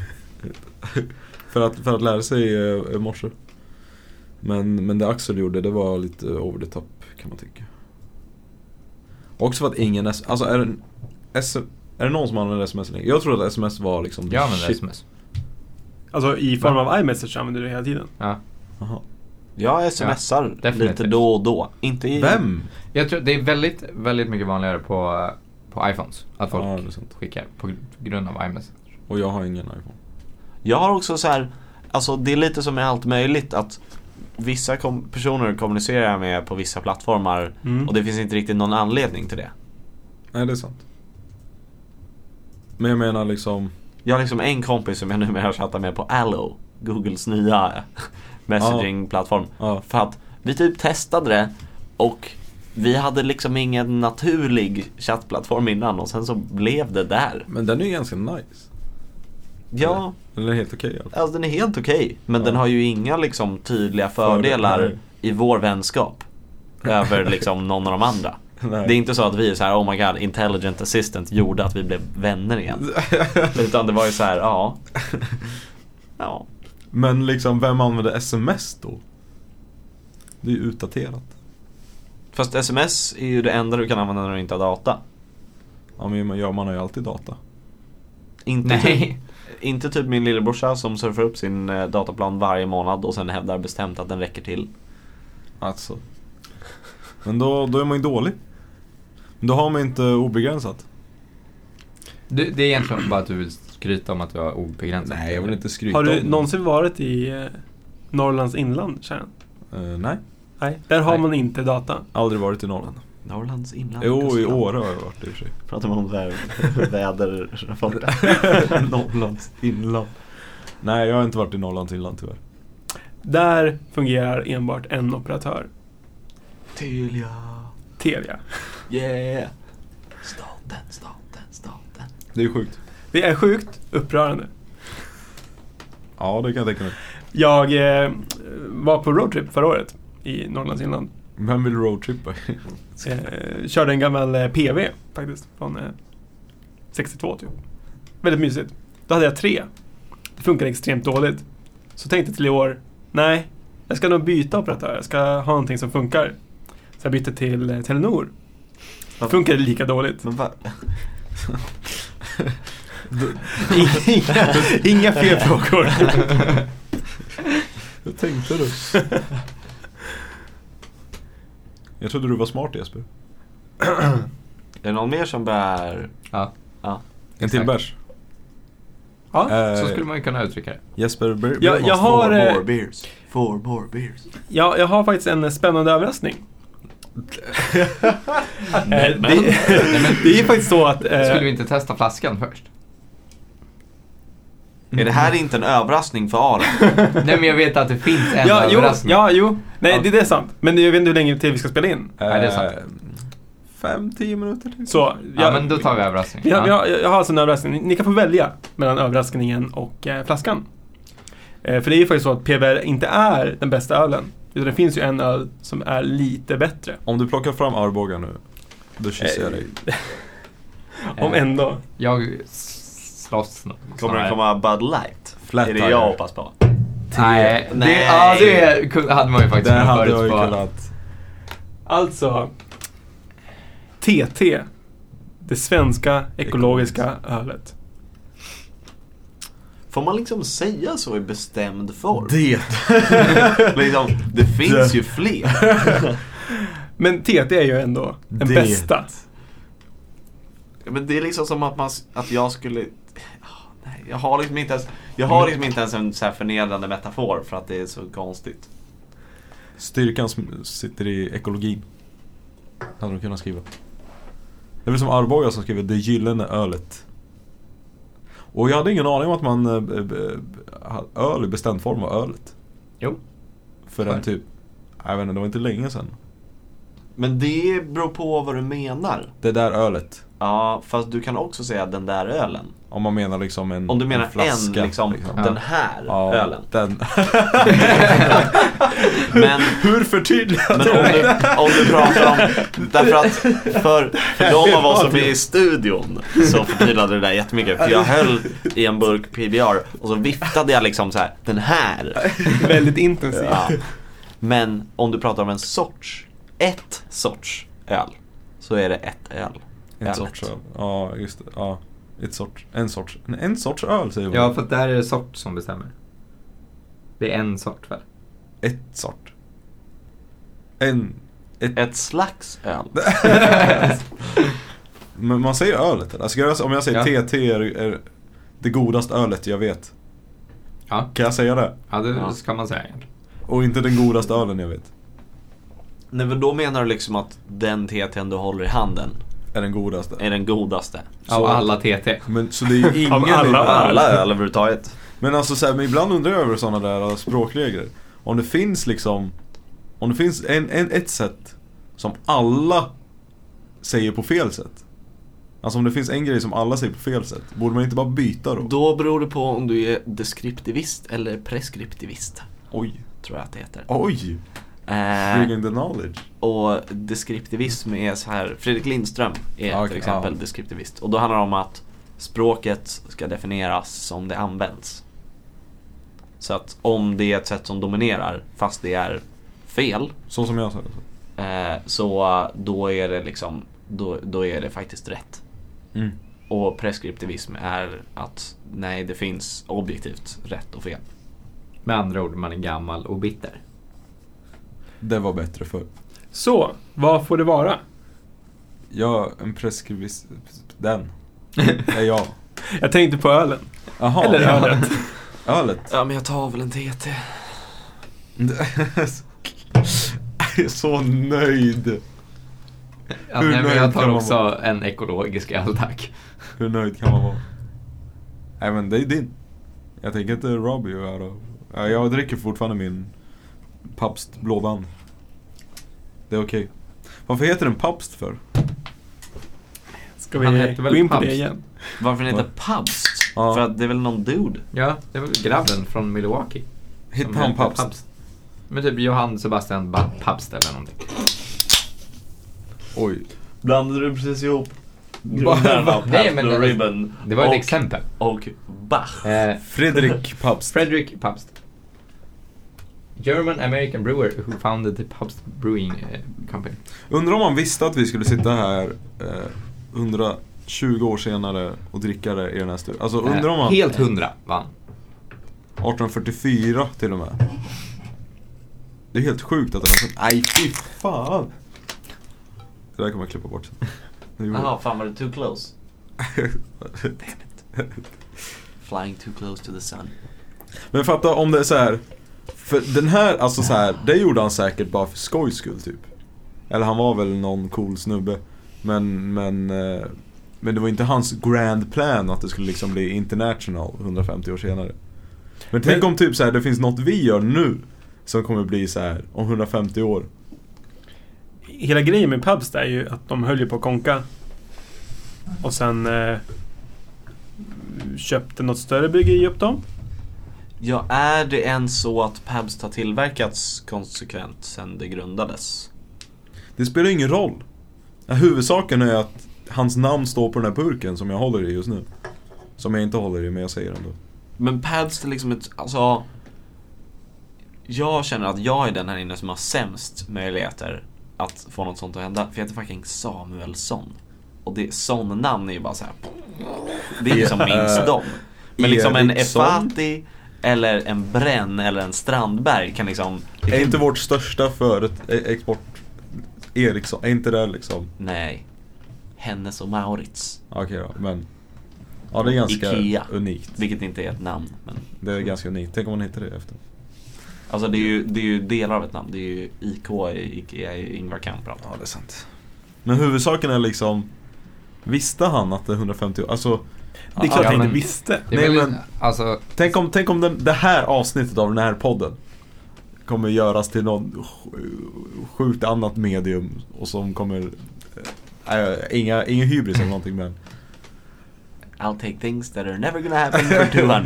[SPEAKER 2] För att, för att lära sig eh, morse. Men, men det Axel gjorde det var lite over the top kan man tycka. Också för att ingen S- alltså är det, S- är det någon som använder sms länge? Jag tror att sms var liksom
[SPEAKER 7] Jag använder sms.
[SPEAKER 5] Alltså i form av iMessage använder du det hela tiden.
[SPEAKER 7] Ja.
[SPEAKER 2] Aha.
[SPEAKER 4] Jag smsar
[SPEAKER 7] definitivt.
[SPEAKER 4] lite då och då. Inte i...
[SPEAKER 2] Vem?
[SPEAKER 7] Jag tror det är väldigt, väldigt mycket vanligare på, på iPhones. Att folk
[SPEAKER 2] Ja, det är sant.
[SPEAKER 7] skickar på grund av iMessage.
[SPEAKER 2] Och jag har ingen iPhone.
[SPEAKER 4] Jag har också så här, alltså det är lite som med allt möjligt att vissa kom personer kommunicerar jag med på vissa plattformar
[SPEAKER 5] Mm.
[SPEAKER 4] och det finns inte riktigt någon anledning till det.
[SPEAKER 2] Nej det är sant. Men jag menar liksom,
[SPEAKER 4] Jag har liksom en kompis som jag numera chattar med på Allo, Googles nya messagingplattform.
[SPEAKER 2] Ja.
[SPEAKER 4] För att vi typ testade det och vi hade liksom ingen naturlig chattplattform innan och sen så blev det där.
[SPEAKER 2] men den är ju ganska nice.
[SPEAKER 4] Ja,
[SPEAKER 2] Den är helt okej i alla fall.
[SPEAKER 4] alltså den är helt okej men
[SPEAKER 2] Ja.
[SPEAKER 4] den har ju inga liksom tydliga
[SPEAKER 2] Fördelar.
[SPEAKER 4] fördelar i vår vänskap över liksom någon av de andra.
[SPEAKER 2] Nej.
[SPEAKER 4] Det är inte så att vi är så här, oh my god, intelligent assistant gjorde att vi blev vänner igen. Utan det var ju så här, ja. Ja.
[SPEAKER 2] Men liksom, vem använder sms då? Det är ju utdaterat.
[SPEAKER 4] Fast sms är ju det enda du kan använda när du inte har data.
[SPEAKER 2] Ja men ja, man har ju alltid data.
[SPEAKER 4] Inte,
[SPEAKER 7] Nej.
[SPEAKER 4] Typ, inte typ min lillebrorsa som surfar upp sin eh, dataplan varje månad och sen hävdar bestämt att den räcker till.
[SPEAKER 2] Alltså. Men då, då är man ju dålig. Men då har man ju inte obegränsat.
[SPEAKER 7] Du, det är egentligen bara att du vill skryta om att du har obegränsat.
[SPEAKER 2] skryta
[SPEAKER 5] Har du någonsin varit i eh, Norrlands inland, Sharon?
[SPEAKER 2] Eh, nej,
[SPEAKER 5] Nej. Där har
[SPEAKER 7] Nej.
[SPEAKER 5] man inte data.
[SPEAKER 2] aldrig varit i Norrland.
[SPEAKER 4] Norrlands inland.
[SPEAKER 2] Jo, i
[SPEAKER 4] kustland.
[SPEAKER 2] Åre har jag varit i och för sig.
[SPEAKER 4] Pratar man om så här väderrapporter.
[SPEAKER 2] Norrlands inland. Nej, jag har inte varit i Norrlands inland tyvärr.
[SPEAKER 5] Där fungerar enbart en operatör. Telia.
[SPEAKER 4] Yeah. Staten, staten, staten.
[SPEAKER 2] Det är sjukt.
[SPEAKER 5] Det är sjukt upprörande.
[SPEAKER 2] Ja, det kan jag tänka mig.
[SPEAKER 5] Jag eh, var på roadtrip förra året i Norrlands inland.
[SPEAKER 2] Vem vill roadtrippa?
[SPEAKER 5] Eh, körde en gammal eh, PV faktiskt, från eh, 62 typ. Väldigt mysigt. Då hade jag tre. Det funkade extremt dåligt. Så tänkte jag till i år, nej, jag ska nog byta operatör. Jag ska ha någonting som funkar. Så jag bytte till eh, Telenor.
[SPEAKER 4] Vad-
[SPEAKER 5] Funkade lika dåligt.
[SPEAKER 4] Men va?
[SPEAKER 5] inga, inga fler frågor.
[SPEAKER 2] Hur tänkte du? Jag trodde du var smart Jesper.
[SPEAKER 4] Är det någon mer som bär?
[SPEAKER 7] Ja,
[SPEAKER 4] Ja.
[SPEAKER 2] En till
[SPEAKER 7] Exakt.
[SPEAKER 2] bärs. Eh,
[SPEAKER 5] Ja,
[SPEAKER 7] så skulle man ju kunna uttrycka det.
[SPEAKER 2] Jesper, blir-
[SPEAKER 5] jag, jag, har,
[SPEAKER 4] Four
[SPEAKER 5] eh,
[SPEAKER 4] more beers. Four more beers.
[SPEAKER 5] jag, jag har faktiskt en eh, spännande överraskning. Eh,
[SPEAKER 4] Men-
[SPEAKER 5] det, det är faktiskt så att... eh,
[SPEAKER 7] Skulle vi inte testa flaskan först?
[SPEAKER 4] Är det här inte en överraskning för Aron?
[SPEAKER 7] Nej men jag vet att det finns en
[SPEAKER 5] ja, jo,
[SPEAKER 7] överraskning.
[SPEAKER 5] ja, jo. Nej, det, det är sant. Men jag vet inte hur länge till vi ska spela in.
[SPEAKER 7] Nej, det är
[SPEAKER 2] eh, Fem, tio minuter till.
[SPEAKER 5] Så, jag,
[SPEAKER 7] ja men då tar vi överraskningen.
[SPEAKER 5] vi har, vi har, jag har alltså en överraskning. Ni- Ni kan få välja mellan överraskningen och eh, flaskan. Eh, för det är ju faktiskt så att PBR inte är den bästa ölen. Utan det finns ju en öl som är lite bättre.
[SPEAKER 2] Om du plockar fram Arboga nu, då kysser jag
[SPEAKER 5] Eh,
[SPEAKER 2] dig.
[SPEAKER 5] Om ändå.
[SPEAKER 7] Jag s- slåss nog.
[SPEAKER 4] Kommer det komma Bud Light?
[SPEAKER 2] Flat
[SPEAKER 4] är det
[SPEAKER 2] tire.
[SPEAKER 4] jag hoppas på.
[SPEAKER 7] Nej, det,
[SPEAKER 4] Nej.
[SPEAKER 7] ja, det kun- hade man ju faktiskt
[SPEAKER 2] Där
[SPEAKER 7] kunnat
[SPEAKER 2] hade jag ju
[SPEAKER 7] förutspå.
[SPEAKER 2] kunnat...
[SPEAKER 5] Alltså. TT det svenska ekologiska ölet.
[SPEAKER 4] Får man liksom säga så i bestämd form?
[SPEAKER 2] Det.
[SPEAKER 4] liksom, det finns ju fler.
[SPEAKER 5] Men TT är ju ändå den
[SPEAKER 2] Det.
[SPEAKER 5] bästa.
[SPEAKER 4] Men det är liksom som att, man, s- att jag skulle... Ah, Nej, jag har liksom inte ens, jag har liksom inte ens en så här förnedrande metafor för att det är så konstigt.
[SPEAKER 2] Styrkan som sitter i ekologin. Hade de kunnat skriva. Det är väl som Arboga som skriver det gyllene ölet. Och jag hade ingen aning om att man eh, b- b- ha- öl i bestämd form var ölet.
[SPEAKER 7] Jo.
[SPEAKER 2] För
[SPEAKER 7] Nej.
[SPEAKER 2] den typ, jag vet inte, det var inte länge sedan.
[SPEAKER 4] Men det beror på vad du menar.
[SPEAKER 2] Det där ölet.
[SPEAKER 4] Ja, fast du kan också säga den där ölen.
[SPEAKER 2] Om man menar liksom en
[SPEAKER 4] Om du menar
[SPEAKER 2] en, flaska,
[SPEAKER 4] en, liksom, den här
[SPEAKER 2] Ja,
[SPEAKER 4] ölen.
[SPEAKER 2] Den.
[SPEAKER 4] Men,
[SPEAKER 2] Hur förtydligar
[SPEAKER 4] men om, du, om du pratar om... Därför att för, för de av oss som är i studion så förtydligade det där jättemycket. För jag höll i en burk PBR och så viftade jag liksom så här, den här.
[SPEAKER 5] Väldigt intensiv.
[SPEAKER 4] Ja. Men om du pratar om en sorts, ett sorts öl, så är det ett öl.
[SPEAKER 2] En
[SPEAKER 4] Ölet.
[SPEAKER 2] sorts öl. Ja, just det. Ja. Ett sorts, en sorts, en, en sorts öl säger man.
[SPEAKER 7] Ja, för att där är det sort som bestämmer. Det är en sort väl?
[SPEAKER 2] Ett sort. En... Ett.
[SPEAKER 4] Ett slags öl.
[SPEAKER 2] Men man säger ölet eller? Alltså, kan jag- om jag säger
[SPEAKER 7] Ja.
[SPEAKER 2] TT är, är det godaste ölet jag vet.
[SPEAKER 7] Ja,
[SPEAKER 2] Kan jag säga det?
[SPEAKER 7] ja det
[SPEAKER 4] Ja.
[SPEAKER 7] ska man säga egentligen.
[SPEAKER 2] Och inte den godaste ölen jag vet.
[SPEAKER 4] Nej men då menar du liksom att den TT'n du håller i handen
[SPEAKER 2] Är den godaste.
[SPEAKER 4] är den godaste.
[SPEAKER 7] Ja, och alla TT.
[SPEAKER 2] Men så det är ju ingen...
[SPEAKER 5] Av alla
[SPEAKER 2] i-
[SPEAKER 4] Alla öl överhuvudtaget.
[SPEAKER 2] Men alltså så här, men ibland undrar jag över sådana där alltså, språkliga grejer. Om det finns liksom, om det finns en, en, ett sätt som alla säger på fel sätt. Alltså om det finns en grej som alla säger på fel sätt, borde man inte bara byta då?
[SPEAKER 4] Då beror det på om du är deskriptivist eller preskriptivist.
[SPEAKER 2] Oj,
[SPEAKER 4] Tror jag att det heter.
[SPEAKER 2] oj!
[SPEAKER 4] Eh,
[SPEAKER 2] Bringing the knowledge.
[SPEAKER 4] och deskriptivism är så här, Fredrik Lindström är
[SPEAKER 2] Ja, okej,
[SPEAKER 4] till exempel
[SPEAKER 2] ja.
[SPEAKER 4] deskriptivist. Och då handlar det om att språket ska definieras som det används. Så att om det är ett sätt som dominerar, fast det är fel,
[SPEAKER 2] Så som jag sa.
[SPEAKER 4] eh, så då är det liksom, då, då är det faktiskt rätt.
[SPEAKER 2] Mm.
[SPEAKER 4] Och preskriptivism är att nej, det finns objektivt rätt och fel.
[SPEAKER 7] Med andra ord, man är gammal och bitter.
[SPEAKER 2] Det var bättre för.
[SPEAKER 5] Så, vad får det vara?
[SPEAKER 2] Ja, en preskrivis... Den. Är jag.
[SPEAKER 5] Jag tänkte på ölen.
[SPEAKER 2] Jaha.
[SPEAKER 5] Eller
[SPEAKER 2] ja.
[SPEAKER 5] ölet.
[SPEAKER 2] Ölet.
[SPEAKER 4] Ja, men jag tar väl en TT.
[SPEAKER 2] Jag är så nöjd.
[SPEAKER 7] Ja,
[SPEAKER 2] Hur
[SPEAKER 7] nej, men
[SPEAKER 2] nöjd
[SPEAKER 7] jag tar
[SPEAKER 2] kan man
[SPEAKER 7] också en ekologisk öl tack.
[SPEAKER 2] Hur nöjd kan man vara? Nej men det är din. Jag tänker inte rob you out of... Ja, Jag dricker fortfarande min Pabst blåband. Det är okej. Varför heter den Pabst för?
[SPEAKER 5] Ska
[SPEAKER 7] Han
[SPEAKER 5] vi
[SPEAKER 7] hette väl
[SPEAKER 5] gå in på
[SPEAKER 7] Pabst?
[SPEAKER 5] det igen?
[SPEAKER 4] Varför den heter Pabst?
[SPEAKER 2] Ja.
[SPEAKER 4] För att det är väl någon dude?
[SPEAKER 7] Ja, det var grabben från Milwaukee.
[SPEAKER 2] Hittade
[SPEAKER 7] som
[SPEAKER 2] han
[SPEAKER 7] hette
[SPEAKER 2] Pabst?
[SPEAKER 7] Men typ Johann Sebastian Ba- Pabst eller någonting.
[SPEAKER 2] Oj.
[SPEAKER 4] Blandade du precis ihop
[SPEAKER 2] grundaren av
[SPEAKER 7] Nej, men Pabst det-
[SPEAKER 4] Ribbon
[SPEAKER 7] Det var ett exempel.
[SPEAKER 4] och Bach?
[SPEAKER 7] Eh,
[SPEAKER 2] Fredrik Pabst.
[SPEAKER 7] Frederick Pabst. German American brewer who founded the Pabst Brewing eh, Company.
[SPEAKER 2] Undrar om man visste att vi skulle sitta här eh, 120 år senare och dricka det i den här studion. Alltså undrar om
[SPEAKER 7] Eh,
[SPEAKER 2] man...
[SPEAKER 7] Helt hundra vann.
[SPEAKER 2] 1844 till och med. Det är helt sjukt att den... Nej fy fan. Det där kommer jag klippa bort sen. Det gjorde
[SPEAKER 4] Jaha, fan var det too close?
[SPEAKER 2] jag.
[SPEAKER 4] Flying too close to the sun.
[SPEAKER 2] Men fatta om det är så här. För den här, alltså så här, det gjorde han säkert bara för skojs skull typ. Eller han var väl någon cool snubbe. Men, men, eh, men det var inte hans grand plan att det skulle liksom bli international 150 år senare. Men tänk
[SPEAKER 5] Men-
[SPEAKER 2] om typ så här, det finns något vi gör nu som kommer bli så här om 150 år.
[SPEAKER 5] Hela grejen med Pabst är ju att de höll ju på att konka. Och sen eh, köpte något större bryggeri upp dem.
[SPEAKER 4] Ja, är det än så att Pabst har tillverkats konsekvent sedan det grundades?
[SPEAKER 2] Det spelar ingen roll. Huvudsaken är att hans namn står på den här burken som jag håller i just nu. Som jag inte håller i, men jag säger ändå.
[SPEAKER 4] Men Pabst är liksom ett, alltså Jag känner att jag är den här inne som har sämst möjligheter att få något sånt att hända. För jag heter fucking Samuelsson. Och det, sån namn är ju bara så här. Det är ju som minst dem. Men liksom en
[SPEAKER 2] Eriksson.
[SPEAKER 4] Efati eller en Bränn eller en Strandberg kan liksom... det
[SPEAKER 2] Är
[SPEAKER 4] kan-
[SPEAKER 2] inte vårt största föret, e- export Ericsson, är inte det liksom?
[SPEAKER 4] Nej. Hennes och Maurits.
[SPEAKER 2] Okej då, men. Ja det är ganska
[SPEAKER 4] Ikea.
[SPEAKER 2] unikt.
[SPEAKER 4] Vilket inte är ett namn. Men,
[SPEAKER 2] Det är ganska unikt. Tänk om man hittar det efter.
[SPEAKER 4] alltså det är, ju, det är ju delar av ett namn. Det är ju IK, Ikea, Ingvar Kamprad.
[SPEAKER 2] Ja, det är sant. Men huvudsaken är liksom, visste han att det är 150 Alltså,
[SPEAKER 5] Det är klart
[SPEAKER 7] Ja,
[SPEAKER 5] jag inte
[SPEAKER 7] men-
[SPEAKER 5] visste.
[SPEAKER 7] Det är
[SPEAKER 2] Nej,
[SPEAKER 7] väl,
[SPEAKER 2] men-
[SPEAKER 7] alltså,
[SPEAKER 2] tänk om, tänk om den, det här avsnittet av den här podden kommer göras till någon sj- sjukt annat medium och som kommer, äh, inga, ingen hybris eller någonting men.
[SPEAKER 4] I'll take things that are never gonna happen for 200.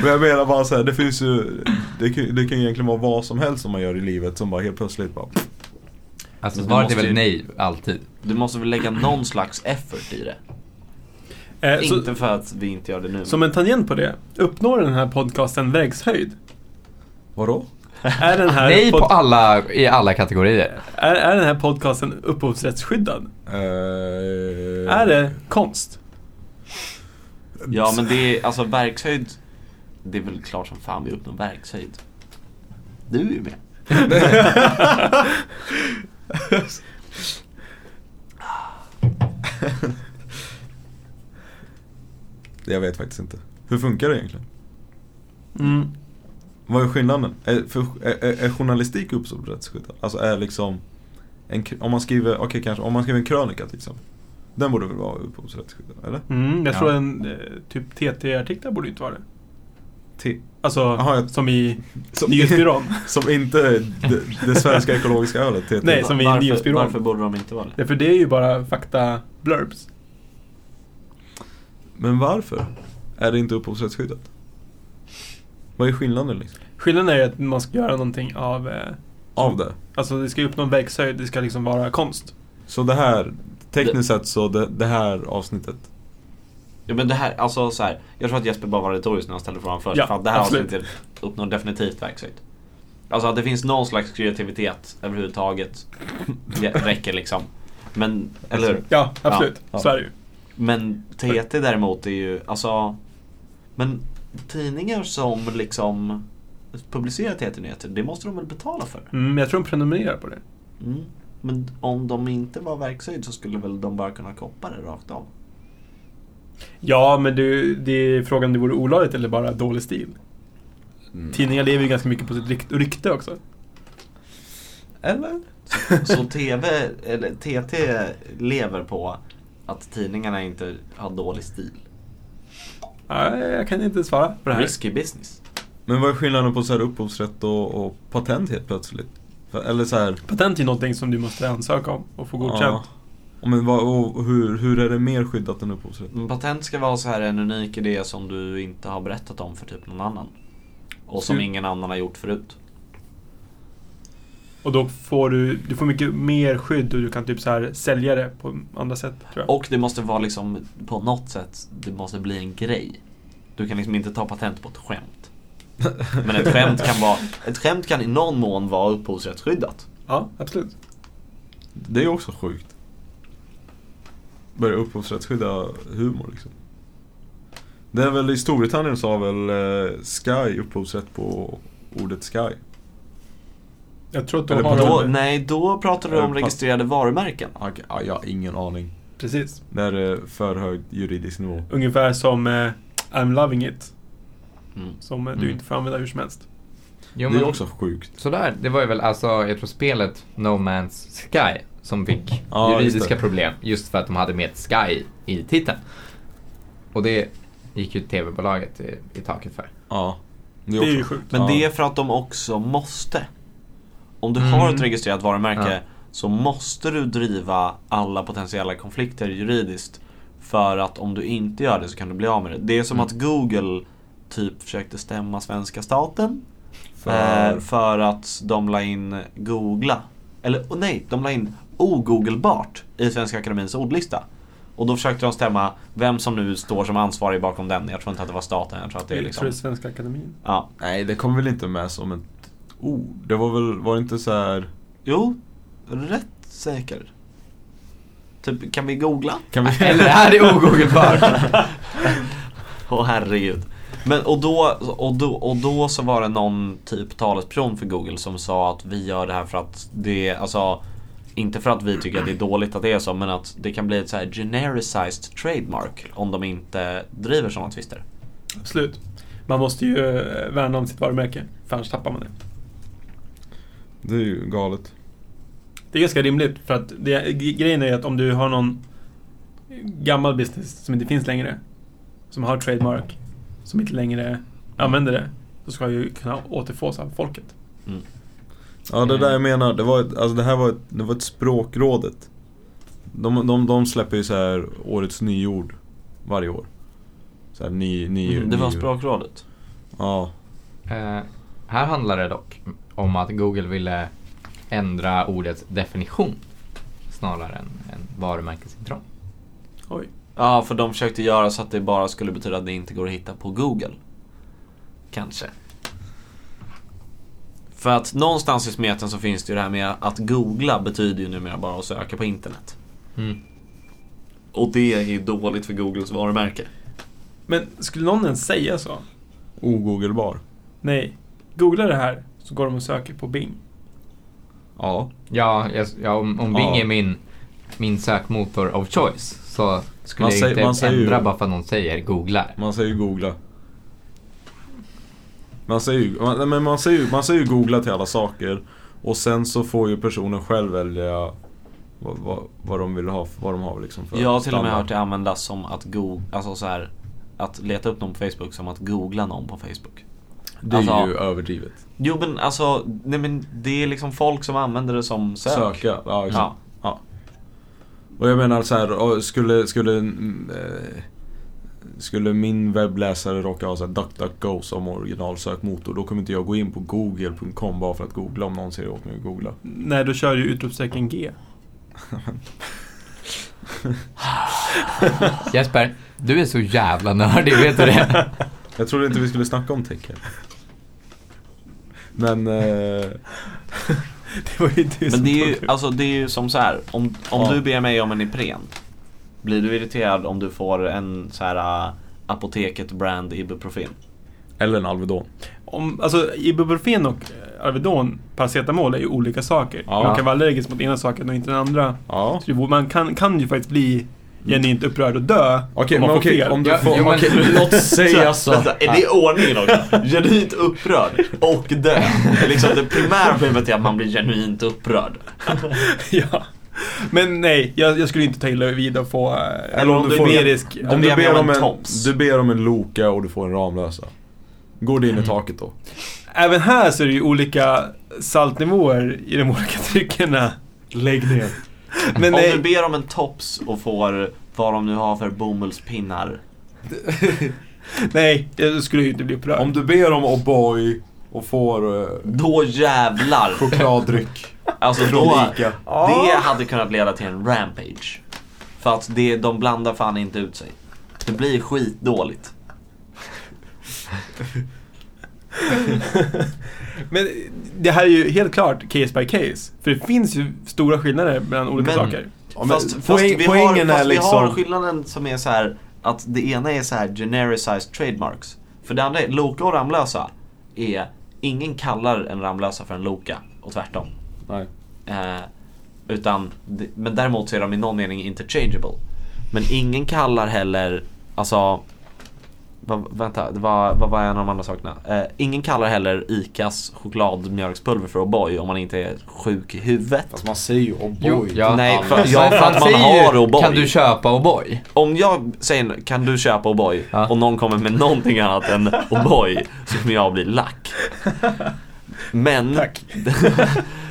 [SPEAKER 2] Men jag menar bara så här, det finns ju, det kan, det kan egentligen vara vad som helst som man gör i livet som bara helt plötsligt bara
[SPEAKER 7] alltså
[SPEAKER 4] Men
[SPEAKER 7] svaret
[SPEAKER 4] du
[SPEAKER 7] är
[SPEAKER 4] måste
[SPEAKER 7] väl
[SPEAKER 4] ju-
[SPEAKER 7] nej, alltid.
[SPEAKER 4] Du måste väl lägga någon slags effort i det.
[SPEAKER 5] Eh, så,
[SPEAKER 4] inte för att vi inte gör det nu.
[SPEAKER 5] som en tangent på det, uppnår den här podcasten vägshöjd?
[SPEAKER 2] Vadå?
[SPEAKER 5] Är den här,
[SPEAKER 7] Nej på
[SPEAKER 5] pod-
[SPEAKER 7] alla, i alla kategorier.
[SPEAKER 5] är, är den här podcasten upphovsrättsskyddad?
[SPEAKER 2] Eh,
[SPEAKER 7] Eh.
[SPEAKER 5] Är det konst?
[SPEAKER 4] Ja men det är, alltså verkshöjd, det är väl klart som fan vi uppnår verkshöjd. Du är ju med.
[SPEAKER 2] Jag vet faktiskt inte. Hur funkar det egentligen?
[SPEAKER 5] Mm.
[SPEAKER 2] Vad är skillnaden? Är, för, är, är, är journalistik upphovsrättsskyddad? Alltså är liksom en, kr- om man skriver, okej kanske, om man skriver en krönika till exempel. Den borde väl vara upphovsrättsskyddad, eller?
[SPEAKER 5] Mm, jag tror
[SPEAKER 7] Ja.
[SPEAKER 5] en eh, typ TT-artiklar borde inte vara det.
[SPEAKER 2] Till,
[SPEAKER 5] Alltså,
[SPEAKER 2] Jaha, jag-
[SPEAKER 5] som i
[SPEAKER 2] Som-
[SPEAKER 5] nyhetsbyrån.
[SPEAKER 2] som inte är det, det svenska ekologiska ölet TT.
[SPEAKER 5] Nej, som i
[SPEAKER 4] varför,
[SPEAKER 5] nyhetsbyrån.
[SPEAKER 4] Varför borde de inte vara det?
[SPEAKER 5] Därför det är ju bara fakta blurbs.
[SPEAKER 2] Men varför är det inte upphovsrättsskyddat? Vad är skillnaden liksom?
[SPEAKER 5] Skillnaden är ju att man ska göra någonting av, eh,
[SPEAKER 2] Av det?
[SPEAKER 5] alltså det ska ju uppnå en vägshöjd, det ska liksom vara konst.
[SPEAKER 2] Så det här, tekniskt sett så det, det här avsnittet.
[SPEAKER 4] Ja men det här, alltså så här. Jag tror att Jesper bara var retorisk när han ställde frågan först.
[SPEAKER 5] Ja,
[SPEAKER 4] för att det här
[SPEAKER 5] absolut.
[SPEAKER 4] avsnittet uppnår definitivt verkshöjd. Alltså att det finns någon slags kreativitet överhuvudtaget. Det räcker liksom. Men, eller hur?
[SPEAKER 5] Ja, absolut.
[SPEAKER 2] ja.
[SPEAKER 5] Så är det ju.
[SPEAKER 4] Men TT däremot är ju, alltså Men tidningar som liksom publicerar TT-nyheter, det måste de väl betala för?
[SPEAKER 5] Mm, jag tror de prenumererar på det.
[SPEAKER 4] Mm. Men om de inte var verkshöjd så skulle väl de bara kunna koppa det rakt av?
[SPEAKER 5] Ja, men du, det är frågan om det vore olagligt eller bara dålig stil.
[SPEAKER 4] Mm.
[SPEAKER 2] Mm.
[SPEAKER 5] Tidningar lever ju ganska mycket på sitt rykt- rykte också. Eller?
[SPEAKER 4] Så TV, eller, TT lever på att tidningarna inte har dålig stil. Mm.
[SPEAKER 5] Nej, jag kan inte svara på det här.
[SPEAKER 4] Risky business.
[SPEAKER 2] Men vad är skillnaden på så här upphovsrätt och, och patent helt plötsligt? För- Eller så här,
[SPEAKER 5] Patent är ju någonting som du måste ansöka om och få godkänt.
[SPEAKER 2] Ja. Men vad, och hur, hur är det mer skyddat än upphovsrätt?
[SPEAKER 4] Men patent ska vara så här en unik idé som du inte har berättat om för typ någon annan. Och som
[SPEAKER 5] Så-
[SPEAKER 4] ingen annan har gjort förut.
[SPEAKER 5] Och då får du, du får mycket mer skydd och du kan typ så här sälja det på andra sätt tror jag.
[SPEAKER 4] Och det måste vara liksom på något sätt, det måste bli en grej. Du kan liksom inte ta patent på ett skämt. Men ett skämt kan, vara, ett skämt kan i någon mån vara upphovsrättsskyddat.
[SPEAKER 5] Ja, absolut.
[SPEAKER 2] Det är också sjukt. Börja upphovsrättsskydda humor liksom. Det är väl i Storbritannien så har väl eh, Sky upphovsrätt på ordet Sky.
[SPEAKER 5] Jag tror att de
[SPEAKER 2] Eller
[SPEAKER 5] har
[SPEAKER 4] Då,
[SPEAKER 5] det.
[SPEAKER 4] nej, då pratar du om registrerade varumärken.
[SPEAKER 2] Okej, ja, jag har ingen aning.
[SPEAKER 5] Precis.
[SPEAKER 2] Det här är eh, för hög juridisk nivå.
[SPEAKER 5] Ungefär som eh, I'm loving it,
[SPEAKER 4] Mm.
[SPEAKER 5] som eh, du
[SPEAKER 2] Mm.
[SPEAKER 5] inte får använda hur som helst.
[SPEAKER 2] Det
[SPEAKER 7] Jo,
[SPEAKER 2] är
[SPEAKER 7] men-
[SPEAKER 2] också sjukt.
[SPEAKER 7] Sådär, det var ju väl alltså, jag tror spelet No Man's Sky som fick
[SPEAKER 2] Ja, just
[SPEAKER 7] juridiska
[SPEAKER 2] det.
[SPEAKER 7] problem just för att de hade med Sky i titeln. Och det gick ju tv-bolaget i, i taket för.
[SPEAKER 2] Ja.
[SPEAKER 5] Det är ju sjukt.
[SPEAKER 4] Men
[SPEAKER 2] Ja.
[SPEAKER 4] det är för att de också måste. Om du har ett registrerat varumärke
[SPEAKER 7] Ja.
[SPEAKER 4] så måste du driva alla potentiella konflikter juridiskt. För att om du inte gör det så kan du bli av med det. Det är som att Google typ försökte stämma svenska staten. För,
[SPEAKER 2] För...
[SPEAKER 4] för att de la in googla. Eller åh nej, de la in ogooglebart i Svenska Akademins ordlista. Och då försökte de stämma vem som nu står som ansvarig bakom den. Jag tror inte att det var staten, jag tror att det är
[SPEAKER 5] Jag
[SPEAKER 4] liksom...
[SPEAKER 5] tror det är Svenska Akademin.
[SPEAKER 4] Ja.
[SPEAKER 2] Nej, det kom väl inte med som ett ord. Det var väl, var det inte så här...
[SPEAKER 4] Jo, rätt säker. Typ, kan vi googla?
[SPEAKER 2] Kan vi...
[SPEAKER 7] Eller det här är ogoogelbart.
[SPEAKER 4] Åh herregud. Men, och, då, och, då, och då så var det någon typ talesperson för Google som sa att vi gör det här för att det, alltså inte för att vi tycker att det är dåligt att det är så, men att det kan bli ett så här genericized trademark om de inte driver sådana tvister.
[SPEAKER 5] Absolut. Man måste ju eh, värna om sitt varumärke, för annars tappar man det.
[SPEAKER 2] Det är ju galet.
[SPEAKER 5] Det är ganska rimligt för att det, grejen är att om du har någon gammal business som inte finns längre, som har trademark, som inte längre använder det, så ska ju kunna återfås av folket.
[SPEAKER 4] Mm.
[SPEAKER 2] Ja det där jag menar, det, var ett, alltså det här var ett, det var ett språkrådet. De, de, de släpper ju så här årets nyord varje år. Så här ny, ny,
[SPEAKER 4] Mm, det var
[SPEAKER 2] ny-
[SPEAKER 4] språkrådet.
[SPEAKER 2] Ja.
[SPEAKER 7] Eh, här handlar det dock om att Google ville ändra ordets definition snarare än, än varumärkesintrång.
[SPEAKER 5] Oj.
[SPEAKER 4] Ja, för de försökte göra så att det bara skulle betyda att det inte går att hitta på Google. Kanske. För att någonstans i smeten så finns det ju det här med att googla betyder ju numera bara att söka på internet.
[SPEAKER 7] Mm.
[SPEAKER 4] Och det är ju dåligt för Googles varumärke.
[SPEAKER 5] Men skulle någon ens säga så?
[SPEAKER 2] Ogoogelbar.
[SPEAKER 5] Nej. Googla det här så går de och söker på Bing.
[SPEAKER 2] Ja.
[SPEAKER 7] Ja, jag, ja om, om Bing
[SPEAKER 2] Ja.
[SPEAKER 7] är min, min sökmotor of choice så skulle
[SPEAKER 2] Man
[SPEAKER 7] jag
[SPEAKER 2] säger-
[SPEAKER 7] inte
[SPEAKER 2] man säger ju-
[SPEAKER 7] ändra bara för att någon säger googlar.
[SPEAKER 2] Man säger ju googla. Man säger ju, man, nej, men man säger, ju- man säger ju googla till alla saker. Och sen så får ju personen själv välja vad, vad, vad de vill ha, vad de har liksom för
[SPEAKER 4] Jag har till och med
[SPEAKER 2] standard.
[SPEAKER 4] hört det användas som att googla, alltså så här, att leta upp någon på Facebook som att googla någon på Facebook.
[SPEAKER 2] Det är
[SPEAKER 4] Alltså-
[SPEAKER 2] ju överdrivet.
[SPEAKER 4] Jo men alltså, nej men det är liksom folk som använder det som sök.
[SPEAKER 2] Söka. Ja, exakt.
[SPEAKER 4] Ja.
[SPEAKER 2] Ja. Och jag menar så här, och skulle, skulle, mm, eh, skulle min webbläsare råka ha så här DuckDuckGo som originalsökmotor då kommer inte jag gå in på google.com bara för att googla om någon säger åt mig att googla.
[SPEAKER 5] Nej, då kör ju utropstecken G.
[SPEAKER 7] Jesper, du är så jävla nördig, vet du det?
[SPEAKER 2] Jag trodde inte vi skulle snacka om tecken. Men... Eh,
[SPEAKER 5] Det var ju du
[SPEAKER 4] Men
[SPEAKER 5] som
[SPEAKER 4] det är ju,
[SPEAKER 5] tog
[SPEAKER 4] alltså, det är ju som så här. om, om
[SPEAKER 2] Ja.
[SPEAKER 4] du ber mig om en Ipren, blir du irriterad om du får en så här äh, Apoteket brand Ibuprofen?
[SPEAKER 2] eller en Alvedon.
[SPEAKER 5] Om, alltså, ibuprofen och eh, Alvedon, paracetamol, är ju olika saker.
[SPEAKER 2] Ja.
[SPEAKER 5] Man kan vara allergisk mot ena saken och inte den andra.
[SPEAKER 2] Ja.
[SPEAKER 5] Så det borde- Man kan, kan ju faktiskt bli genuint upprörd och dö
[SPEAKER 2] Okej,
[SPEAKER 5] om man
[SPEAKER 2] men
[SPEAKER 5] får
[SPEAKER 2] okej.
[SPEAKER 5] fel.
[SPEAKER 2] Om du
[SPEAKER 7] Ja,
[SPEAKER 2] får...
[SPEAKER 7] jo, men-
[SPEAKER 2] okej, låt säga så.
[SPEAKER 4] Vänta, är det ordningen också? Genuint upprörd och död. Liksom det primära problemet är att man blir genuint upprörd.
[SPEAKER 5] ja. Men nej, jag, jag skulle inte ta illa vid att få... eh,
[SPEAKER 4] Eller om du
[SPEAKER 5] får-
[SPEAKER 4] ber-
[SPEAKER 5] risk.
[SPEAKER 4] om
[SPEAKER 2] Om
[SPEAKER 4] det
[SPEAKER 2] du
[SPEAKER 4] är med
[SPEAKER 2] ber
[SPEAKER 4] om
[SPEAKER 2] om
[SPEAKER 4] en
[SPEAKER 2] en,
[SPEAKER 4] tops.
[SPEAKER 2] du ber om en Loka och du får en Ramlösa. Går det in i taket då?
[SPEAKER 5] Även här så är det ju olika saltnivåer i de olika dryckerna.
[SPEAKER 2] Lägg ner.
[SPEAKER 5] Men
[SPEAKER 4] om
[SPEAKER 5] nej,
[SPEAKER 4] du ber om en tops och får vad de nu har för bomullspinnar.
[SPEAKER 5] nej, jag skulle ju inte bli upprörd.
[SPEAKER 2] Om du ber om O'boy och får eh,
[SPEAKER 4] Då jävlar!
[SPEAKER 2] chokladdryck.
[SPEAKER 4] Alltså då,
[SPEAKER 2] Från Ica.
[SPEAKER 4] det hade kunnat leda till en rampage. För att det, de blandar fan inte ut sig. Det blir skitdåligt.
[SPEAKER 5] Men det här är ju helt klart case by case. För det finns ju stora skillnader mellan olika
[SPEAKER 4] Men-
[SPEAKER 5] saker.
[SPEAKER 2] Ja, men
[SPEAKER 4] fast fast,
[SPEAKER 2] poäng-
[SPEAKER 4] vi, har,
[SPEAKER 2] poängen
[SPEAKER 4] fast
[SPEAKER 2] är
[SPEAKER 4] vi har
[SPEAKER 2] liksom-
[SPEAKER 4] skillnaden som är så här att det ena är så här genericized trademarks. För det andra är, Loka och Ramlösa är, ingen kallar en Ramlösa för en Loka och tvärtom.
[SPEAKER 2] Nej.
[SPEAKER 4] Eh, utan, det- men däremot så är de i någon mening interchangeable. Men ingen kallar heller, alltså, vad, vänta, det var, vad var en av de andra sakerna? Eh, ingen kallar heller ICAs chokladmjölkspulver för O'boy om man inte är sjuk i huvudet.
[SPEAKER 2] Fast man säger ju O'boy.
[SPEAKER 7] ja,
[SPEAKER 4] Nej,
[SPEAKER 7] ja.
[SPEAKER 4] för- ja,
[SPEAKER 7] Men
[SPEAKER 4] för att man
[SPEAKER 7] säger ju,
[SPEAKER 4] har O'boy.
[SPEAKER 7] Kan du köpa O'boy?
[SPEAKER 4] Om jag säger kan du köpa O'boy
[SPEAKER 7] Ja.
[SPEAKER 4] och någon kommer med någonting annat än O'boy så kommer jag bli lack. Men
[SPEAKER 5] Tack.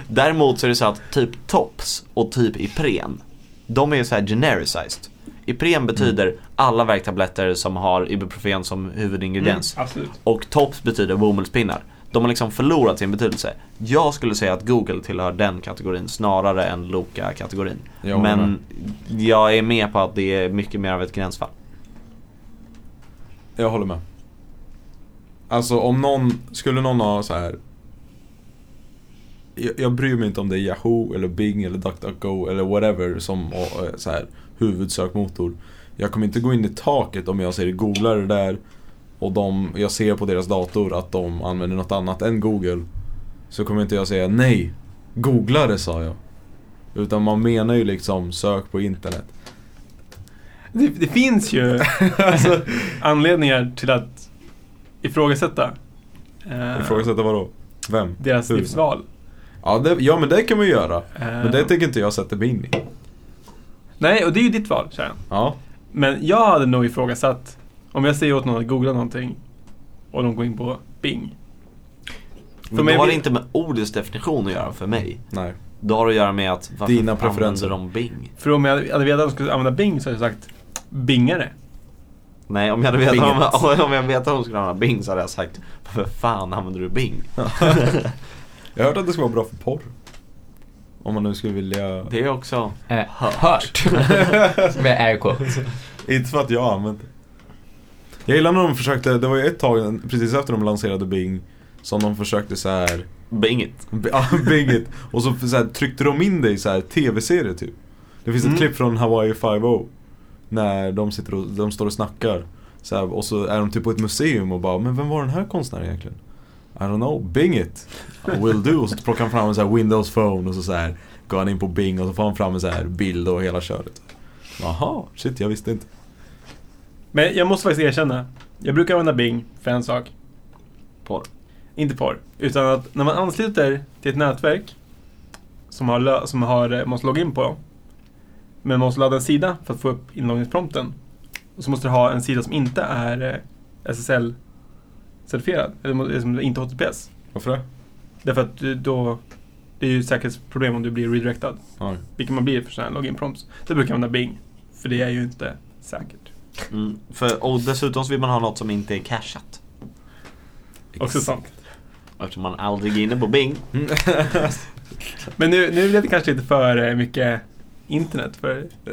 [SPEAKER 4] däremot så är det så att typ Tops och typ Ipren, de är ju så här genericized. Ipren betyder
[SPEAKER 2] Mm.
[SPEAKER 4] alla värktabletter som har Ibuprofen som huvudingrediens.
[SPEAKER 2] Mm.
[SPEAKER 5] Absolut.
[SPEAKER 4] Och Tops betyder bomullspinnar. De har liksom förlorat sin betydelse. Jag skulle säga att Google tillhör den kategorin snarare än Loka-kategorin.
[SPEAKER 2] Jag
[SPEAKER 4] Men jag är med på att det är mycket mer av ett gränsfall.
[SPEAKER 2] Jag håller med. Alltså om någon, skulle någon ha så här jag, jag bryr mig inte om det är Yahoo eller Bing eller DuckDuckGo eller whatever som eh, så här, huvudsökmotor. Jag kommer inte gå in i taket om jag ser googlar det där och de, jag ser på deras dator att de använder något annat än Google. Så kommer inte jag säga nej, googla det sa jag. Utan man menar ju liksom sök på internet.
[SPEAKER 5] Det, det finns ju alltså, anledningar till att ifrågasätta, eh,
[SPEAKER 2] Ifrågasätta vadå? Vem?
[SPEAKER 5] deras
[SPEAKER 2] Hur?
[SPEAKER 5] livsval.
[SPEAKER 2] Ja, det, ja men det kan man ju göra. Men det
[SPEAKER 5] Eh,
[SPEAKER 2] tänker inte jag sätta mig in i.
[SPEAKER 5] Nej, och det är ju ditt val, Sharon.
[SPEAKER 2] Ja.
[SPEAKER 5] Men jag hade nog ifrågasatt, om jag säger åt någon att googla någonting och de går in på Bing.
[SPEAKER 4] Men
[SPEAKER 5] mig
[SPEAKER 4] då har
[SPEAKER 5] blir-
[SPEAKER 4] det inte med ordets definition att göra för mig.
[SPEAKER 2] Nej.
[SPEAKER 4] Då har det att göra med att varför
[SPEAKER 2] Dina
[SPEAKER 4] använder
[SPEAKER 2] preferenser.
[SPEAKER 4] de Bing?
[SPEAKER 5] För om jag hade vetat att de skulle använda Bing så hade jag sagt bingare.
[SPEAKER 4] Nej, om jag hade vetat
[SPEAKER 2] Binget.
[SPEAKER 4] om, om jag vetat att de skulle använda Bing så hade jag sagt Varför fan använder du Bing?
[SPEAKER 2] Jag har hört att det ska vara bra för porr. Om man nu skulle vilja...
[SPEAKER 4] Det är också
[SPEAKER 7] Eh, hört. Med air quotes.
[SPEAKER 2] Inte för att jag har använt det. Jag gillar när de försökte, det var ju ett tag precis efter de lanserade Bing som de försökte så här
[SPEAKER 4] Binget.
[SPEAKER 2] B- ja, Binget. Och så, så här, tryckte de in dig i så här tv-serier typ. Det finns ett
[SPEAKER 5] Mm.
[SPEAKER 2] klipp från Hawaii 5 När de, sitter och, de står och snackar. Så här, och så är de typ på ett museum och bara, men vem var den här konstnären egentligen? I don't know, Bing it. I will do. Och så plockar han fram en så här Windows phone och så, så här går han in på Bing och så får han fram en så här bild och hela köret. Jaha, shit jag visste inte.
[SPEAKER 5] Men jag måste faktiskt erkänna, jag brukar använda Bing för en sak.
[SPEAKER 4] Porr.
[SPEAKER 5] Inte porr. Utan att när man ansluter till ett nätverk som, har, lö- som har, eh, måste logga in på. Men man måste ladda en sida för att få upp inloggningsprompten. Och så måste du ha en sida som inte är eh, SSL-certifierad. Eller må- eller som inte är HTTPS.
[SPEAKER 2] Varför det?
[SPEAKER 5] Därför att du, då, det är ju ett säkerhetsproblem om du blir redirectad.
[SPEAKER 2] Ja.
[SPEAKER 5] Vilket man blir för sådana här login prompts. Det brukar jag använda Bing. För det är ju inte säkert.
[SPEAKER 4] Mm. För, och dessutom så vill man ha något som inte är cashat.
[SPEAKER 5] Också sant.
[SPEAKER 4] Eftersom man aldrig är inne på Bing.
[SPEAKER 2] Mm.
[SPEAKER 5] Men nu, nu blev det kanske lite för eh, mycket internet för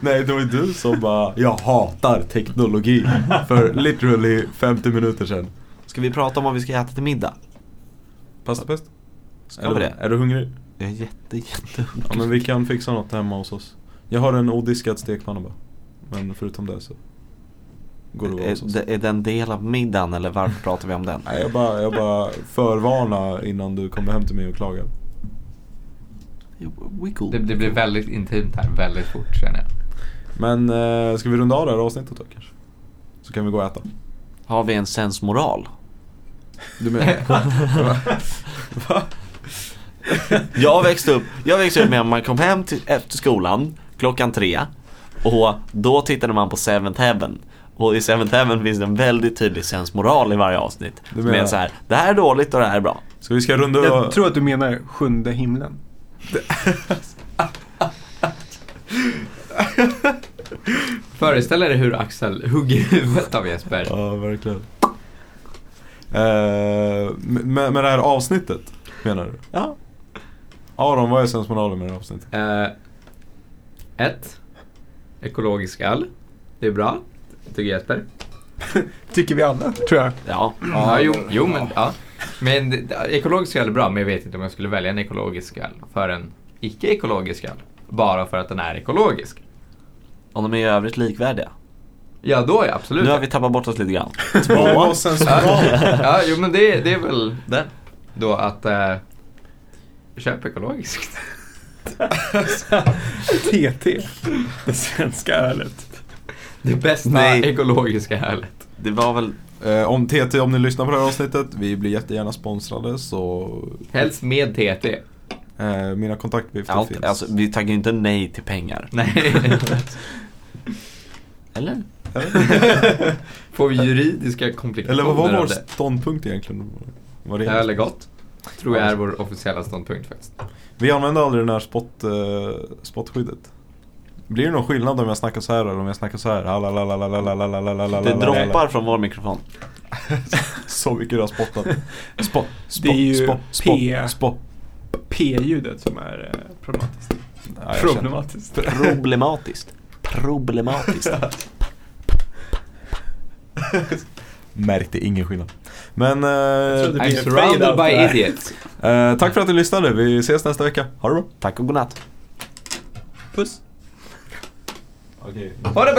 [SPEAKER 2] Nej, det var ju du som bara Jag hatar teknologi för literally 50 minuter sedan.
[SPEAKER 4] Ska vi prata om vad vi ska äta till middag?
[SPEAKER 2] Pastapest?
[SPEAKER 4] Ska vi det?
[SPEAKER 2] Är du hungrig?
[SPEAKER 4] Jag är jätte, jätte
[SPEAKER 2] Ja men vi kan fixa något hemma hos oss. Jag har en odiskad stekpanna bara. Men förutom det så går det bra hos
[SPEAKER 4] är,
[SPEAKER 2] oss.
[SPEAKER 4] Eh, det- är det en del av middagen eller varför pratar vi om den?
[SPEAKER 2] Nej, jag bara, jag bara förvarnar innan du kommer hem till mig och klagar.
[SPEAKER 4] Wiggle.
[SPEAKER 7] Det, det blir väldigt intimt här väldigt fort känner jag.
[SPEAKER 2] Men eh, ska vi runda av det här avsnittet då kanske? Så kan vi gå och äta.
[SPEAKER 4] Har vi en sensmoral?
[SPEAKER 2] Du menar?
[SPEAKER 4] Jag växte upp, jag växte upp med att man kom hem till, efter skolan klockan tre och då tittade man på Seventh Heaven. Och i Seventh Heaven finns det en väldigt tydlig sensmoral i varje avsnitt.
[SPEAKER 2] Du
[SPEAKER 4] Som
[SPEAKER 2] menar-
[SPEAKER 4] är så här, det här är dåligt och det här är bra.
[SPEAKER 2] Så vi ska runda
[SPEAKER 5] Jag tror att du menar sjunde himlen.
[SPEAKER 7] Föreställ er hur Axel hugger huvudet av Jesper.
[SPEAKER 2] Ja, verkligen. Eh, med, med det här avsnittet, menar du?
[SPEAKER 4] Ja.
[SPEAKER 2] Aron, vad är sensmoralen med det här avsnittet?
[SPEAKER 7] Eh, ett. Ekologisk öl. Det är bra. Tycker Jesper.
[SPEAKER 5] Tycker vi alla, tror jag.
[SPEAKER 4] Ja.
[SPEAKER 7] Ja, jo, jo men ja. Men det- det- ekologisk öl är bra, men jag vet inte om jag skulle välja en ekologisk öl för en icke-ekologisk öl. Bara för att den är ekologisk.
[SPEAKER 4] Om de är i övrigt likvärdiga.
[SPEAKER 7] Ja, då är jag absolut.
[SPEAKER 4] Nu har vi tappat bort oss lite grann.
[SPEAKER 2] Vad var sensmoralen?
[SPEAKER 7] ja, jo men det, det är väl det. Då att eh, köp ekologiskt.
[SPEAKER 5] TT. Det svenska ölet.
[SPEAKER 7] Det bästa
[SPEAKER 4] Nej.
[SPEAKER 7] ekologiska ölet.
[SPEAKER 4] Det var väl,
[SPEAKER 2] Eh, om TT, om ni lyssnar på det här avsnittet, vi blir jättegärna sponsrade så
[SPEAKER 7] Helst med TT.
[SPEAKER 2] eh, mina kontaktuppgifter finns.
[SPEAKER 4] allt, alltså, vi tackar ju inte nej till pengar.
[SPEAKER 7] Nej.
[SPEAKER 4] Eller?
[SPEAKER 7] Får vi juridiska komplikationer
[SPEAKER 2] Eller vad var
[SPEAKER 7] av
[SPEAKER 2] vår
[SPEAKER 7] det?
[SPEAKER 2] ståndpunkt egentligen? Vad det är?
[SPEAKER 7] Öl är gott. Tror jag är vår officiella ståndpunkt faktiskt.
[SPEAKER 2] Vi använder aldrig den här spot, eh, spotskyddet. Blir det någon skillnad om jag snackar så här eller om jag snackar så här? Halalalalalalalalalalalalalala.
[SPEAKER 4] Det droppar från vår mikrofon.
[SPEAKER 2] Så mycket du har spottat. Spott,
[SPEAKER 5] Det är ju
[SPEAKER 2] spott, spott,
[SPEAKER 5] P.
[SPEAKER 2] spott, spott.
[SPEAKER 5] P-ljudet som är eh, problematiskt.
[SPEAKER 2] Ja, jag känner-
[SPEAKER 5] problematiskt.
[SPEAKER 4] Problematiskt. Problematiskt.
[SPEAKER 2] Märkte ingen skillnad. Men eh,
[SPEAKER 8] trodde-
[SPEAKER 3] I'm surrounded by idiots.
[SPEAKER 2] eh, tack för att ni lyssnade. Vi ses nästa vecka. Ha det bra.
[SPEAKER 5] Tack och godnatt.
[SPEAKER 8] Puss.
[SPEAKER 2] Okay.
[SPEAKER 3] Ha det bra!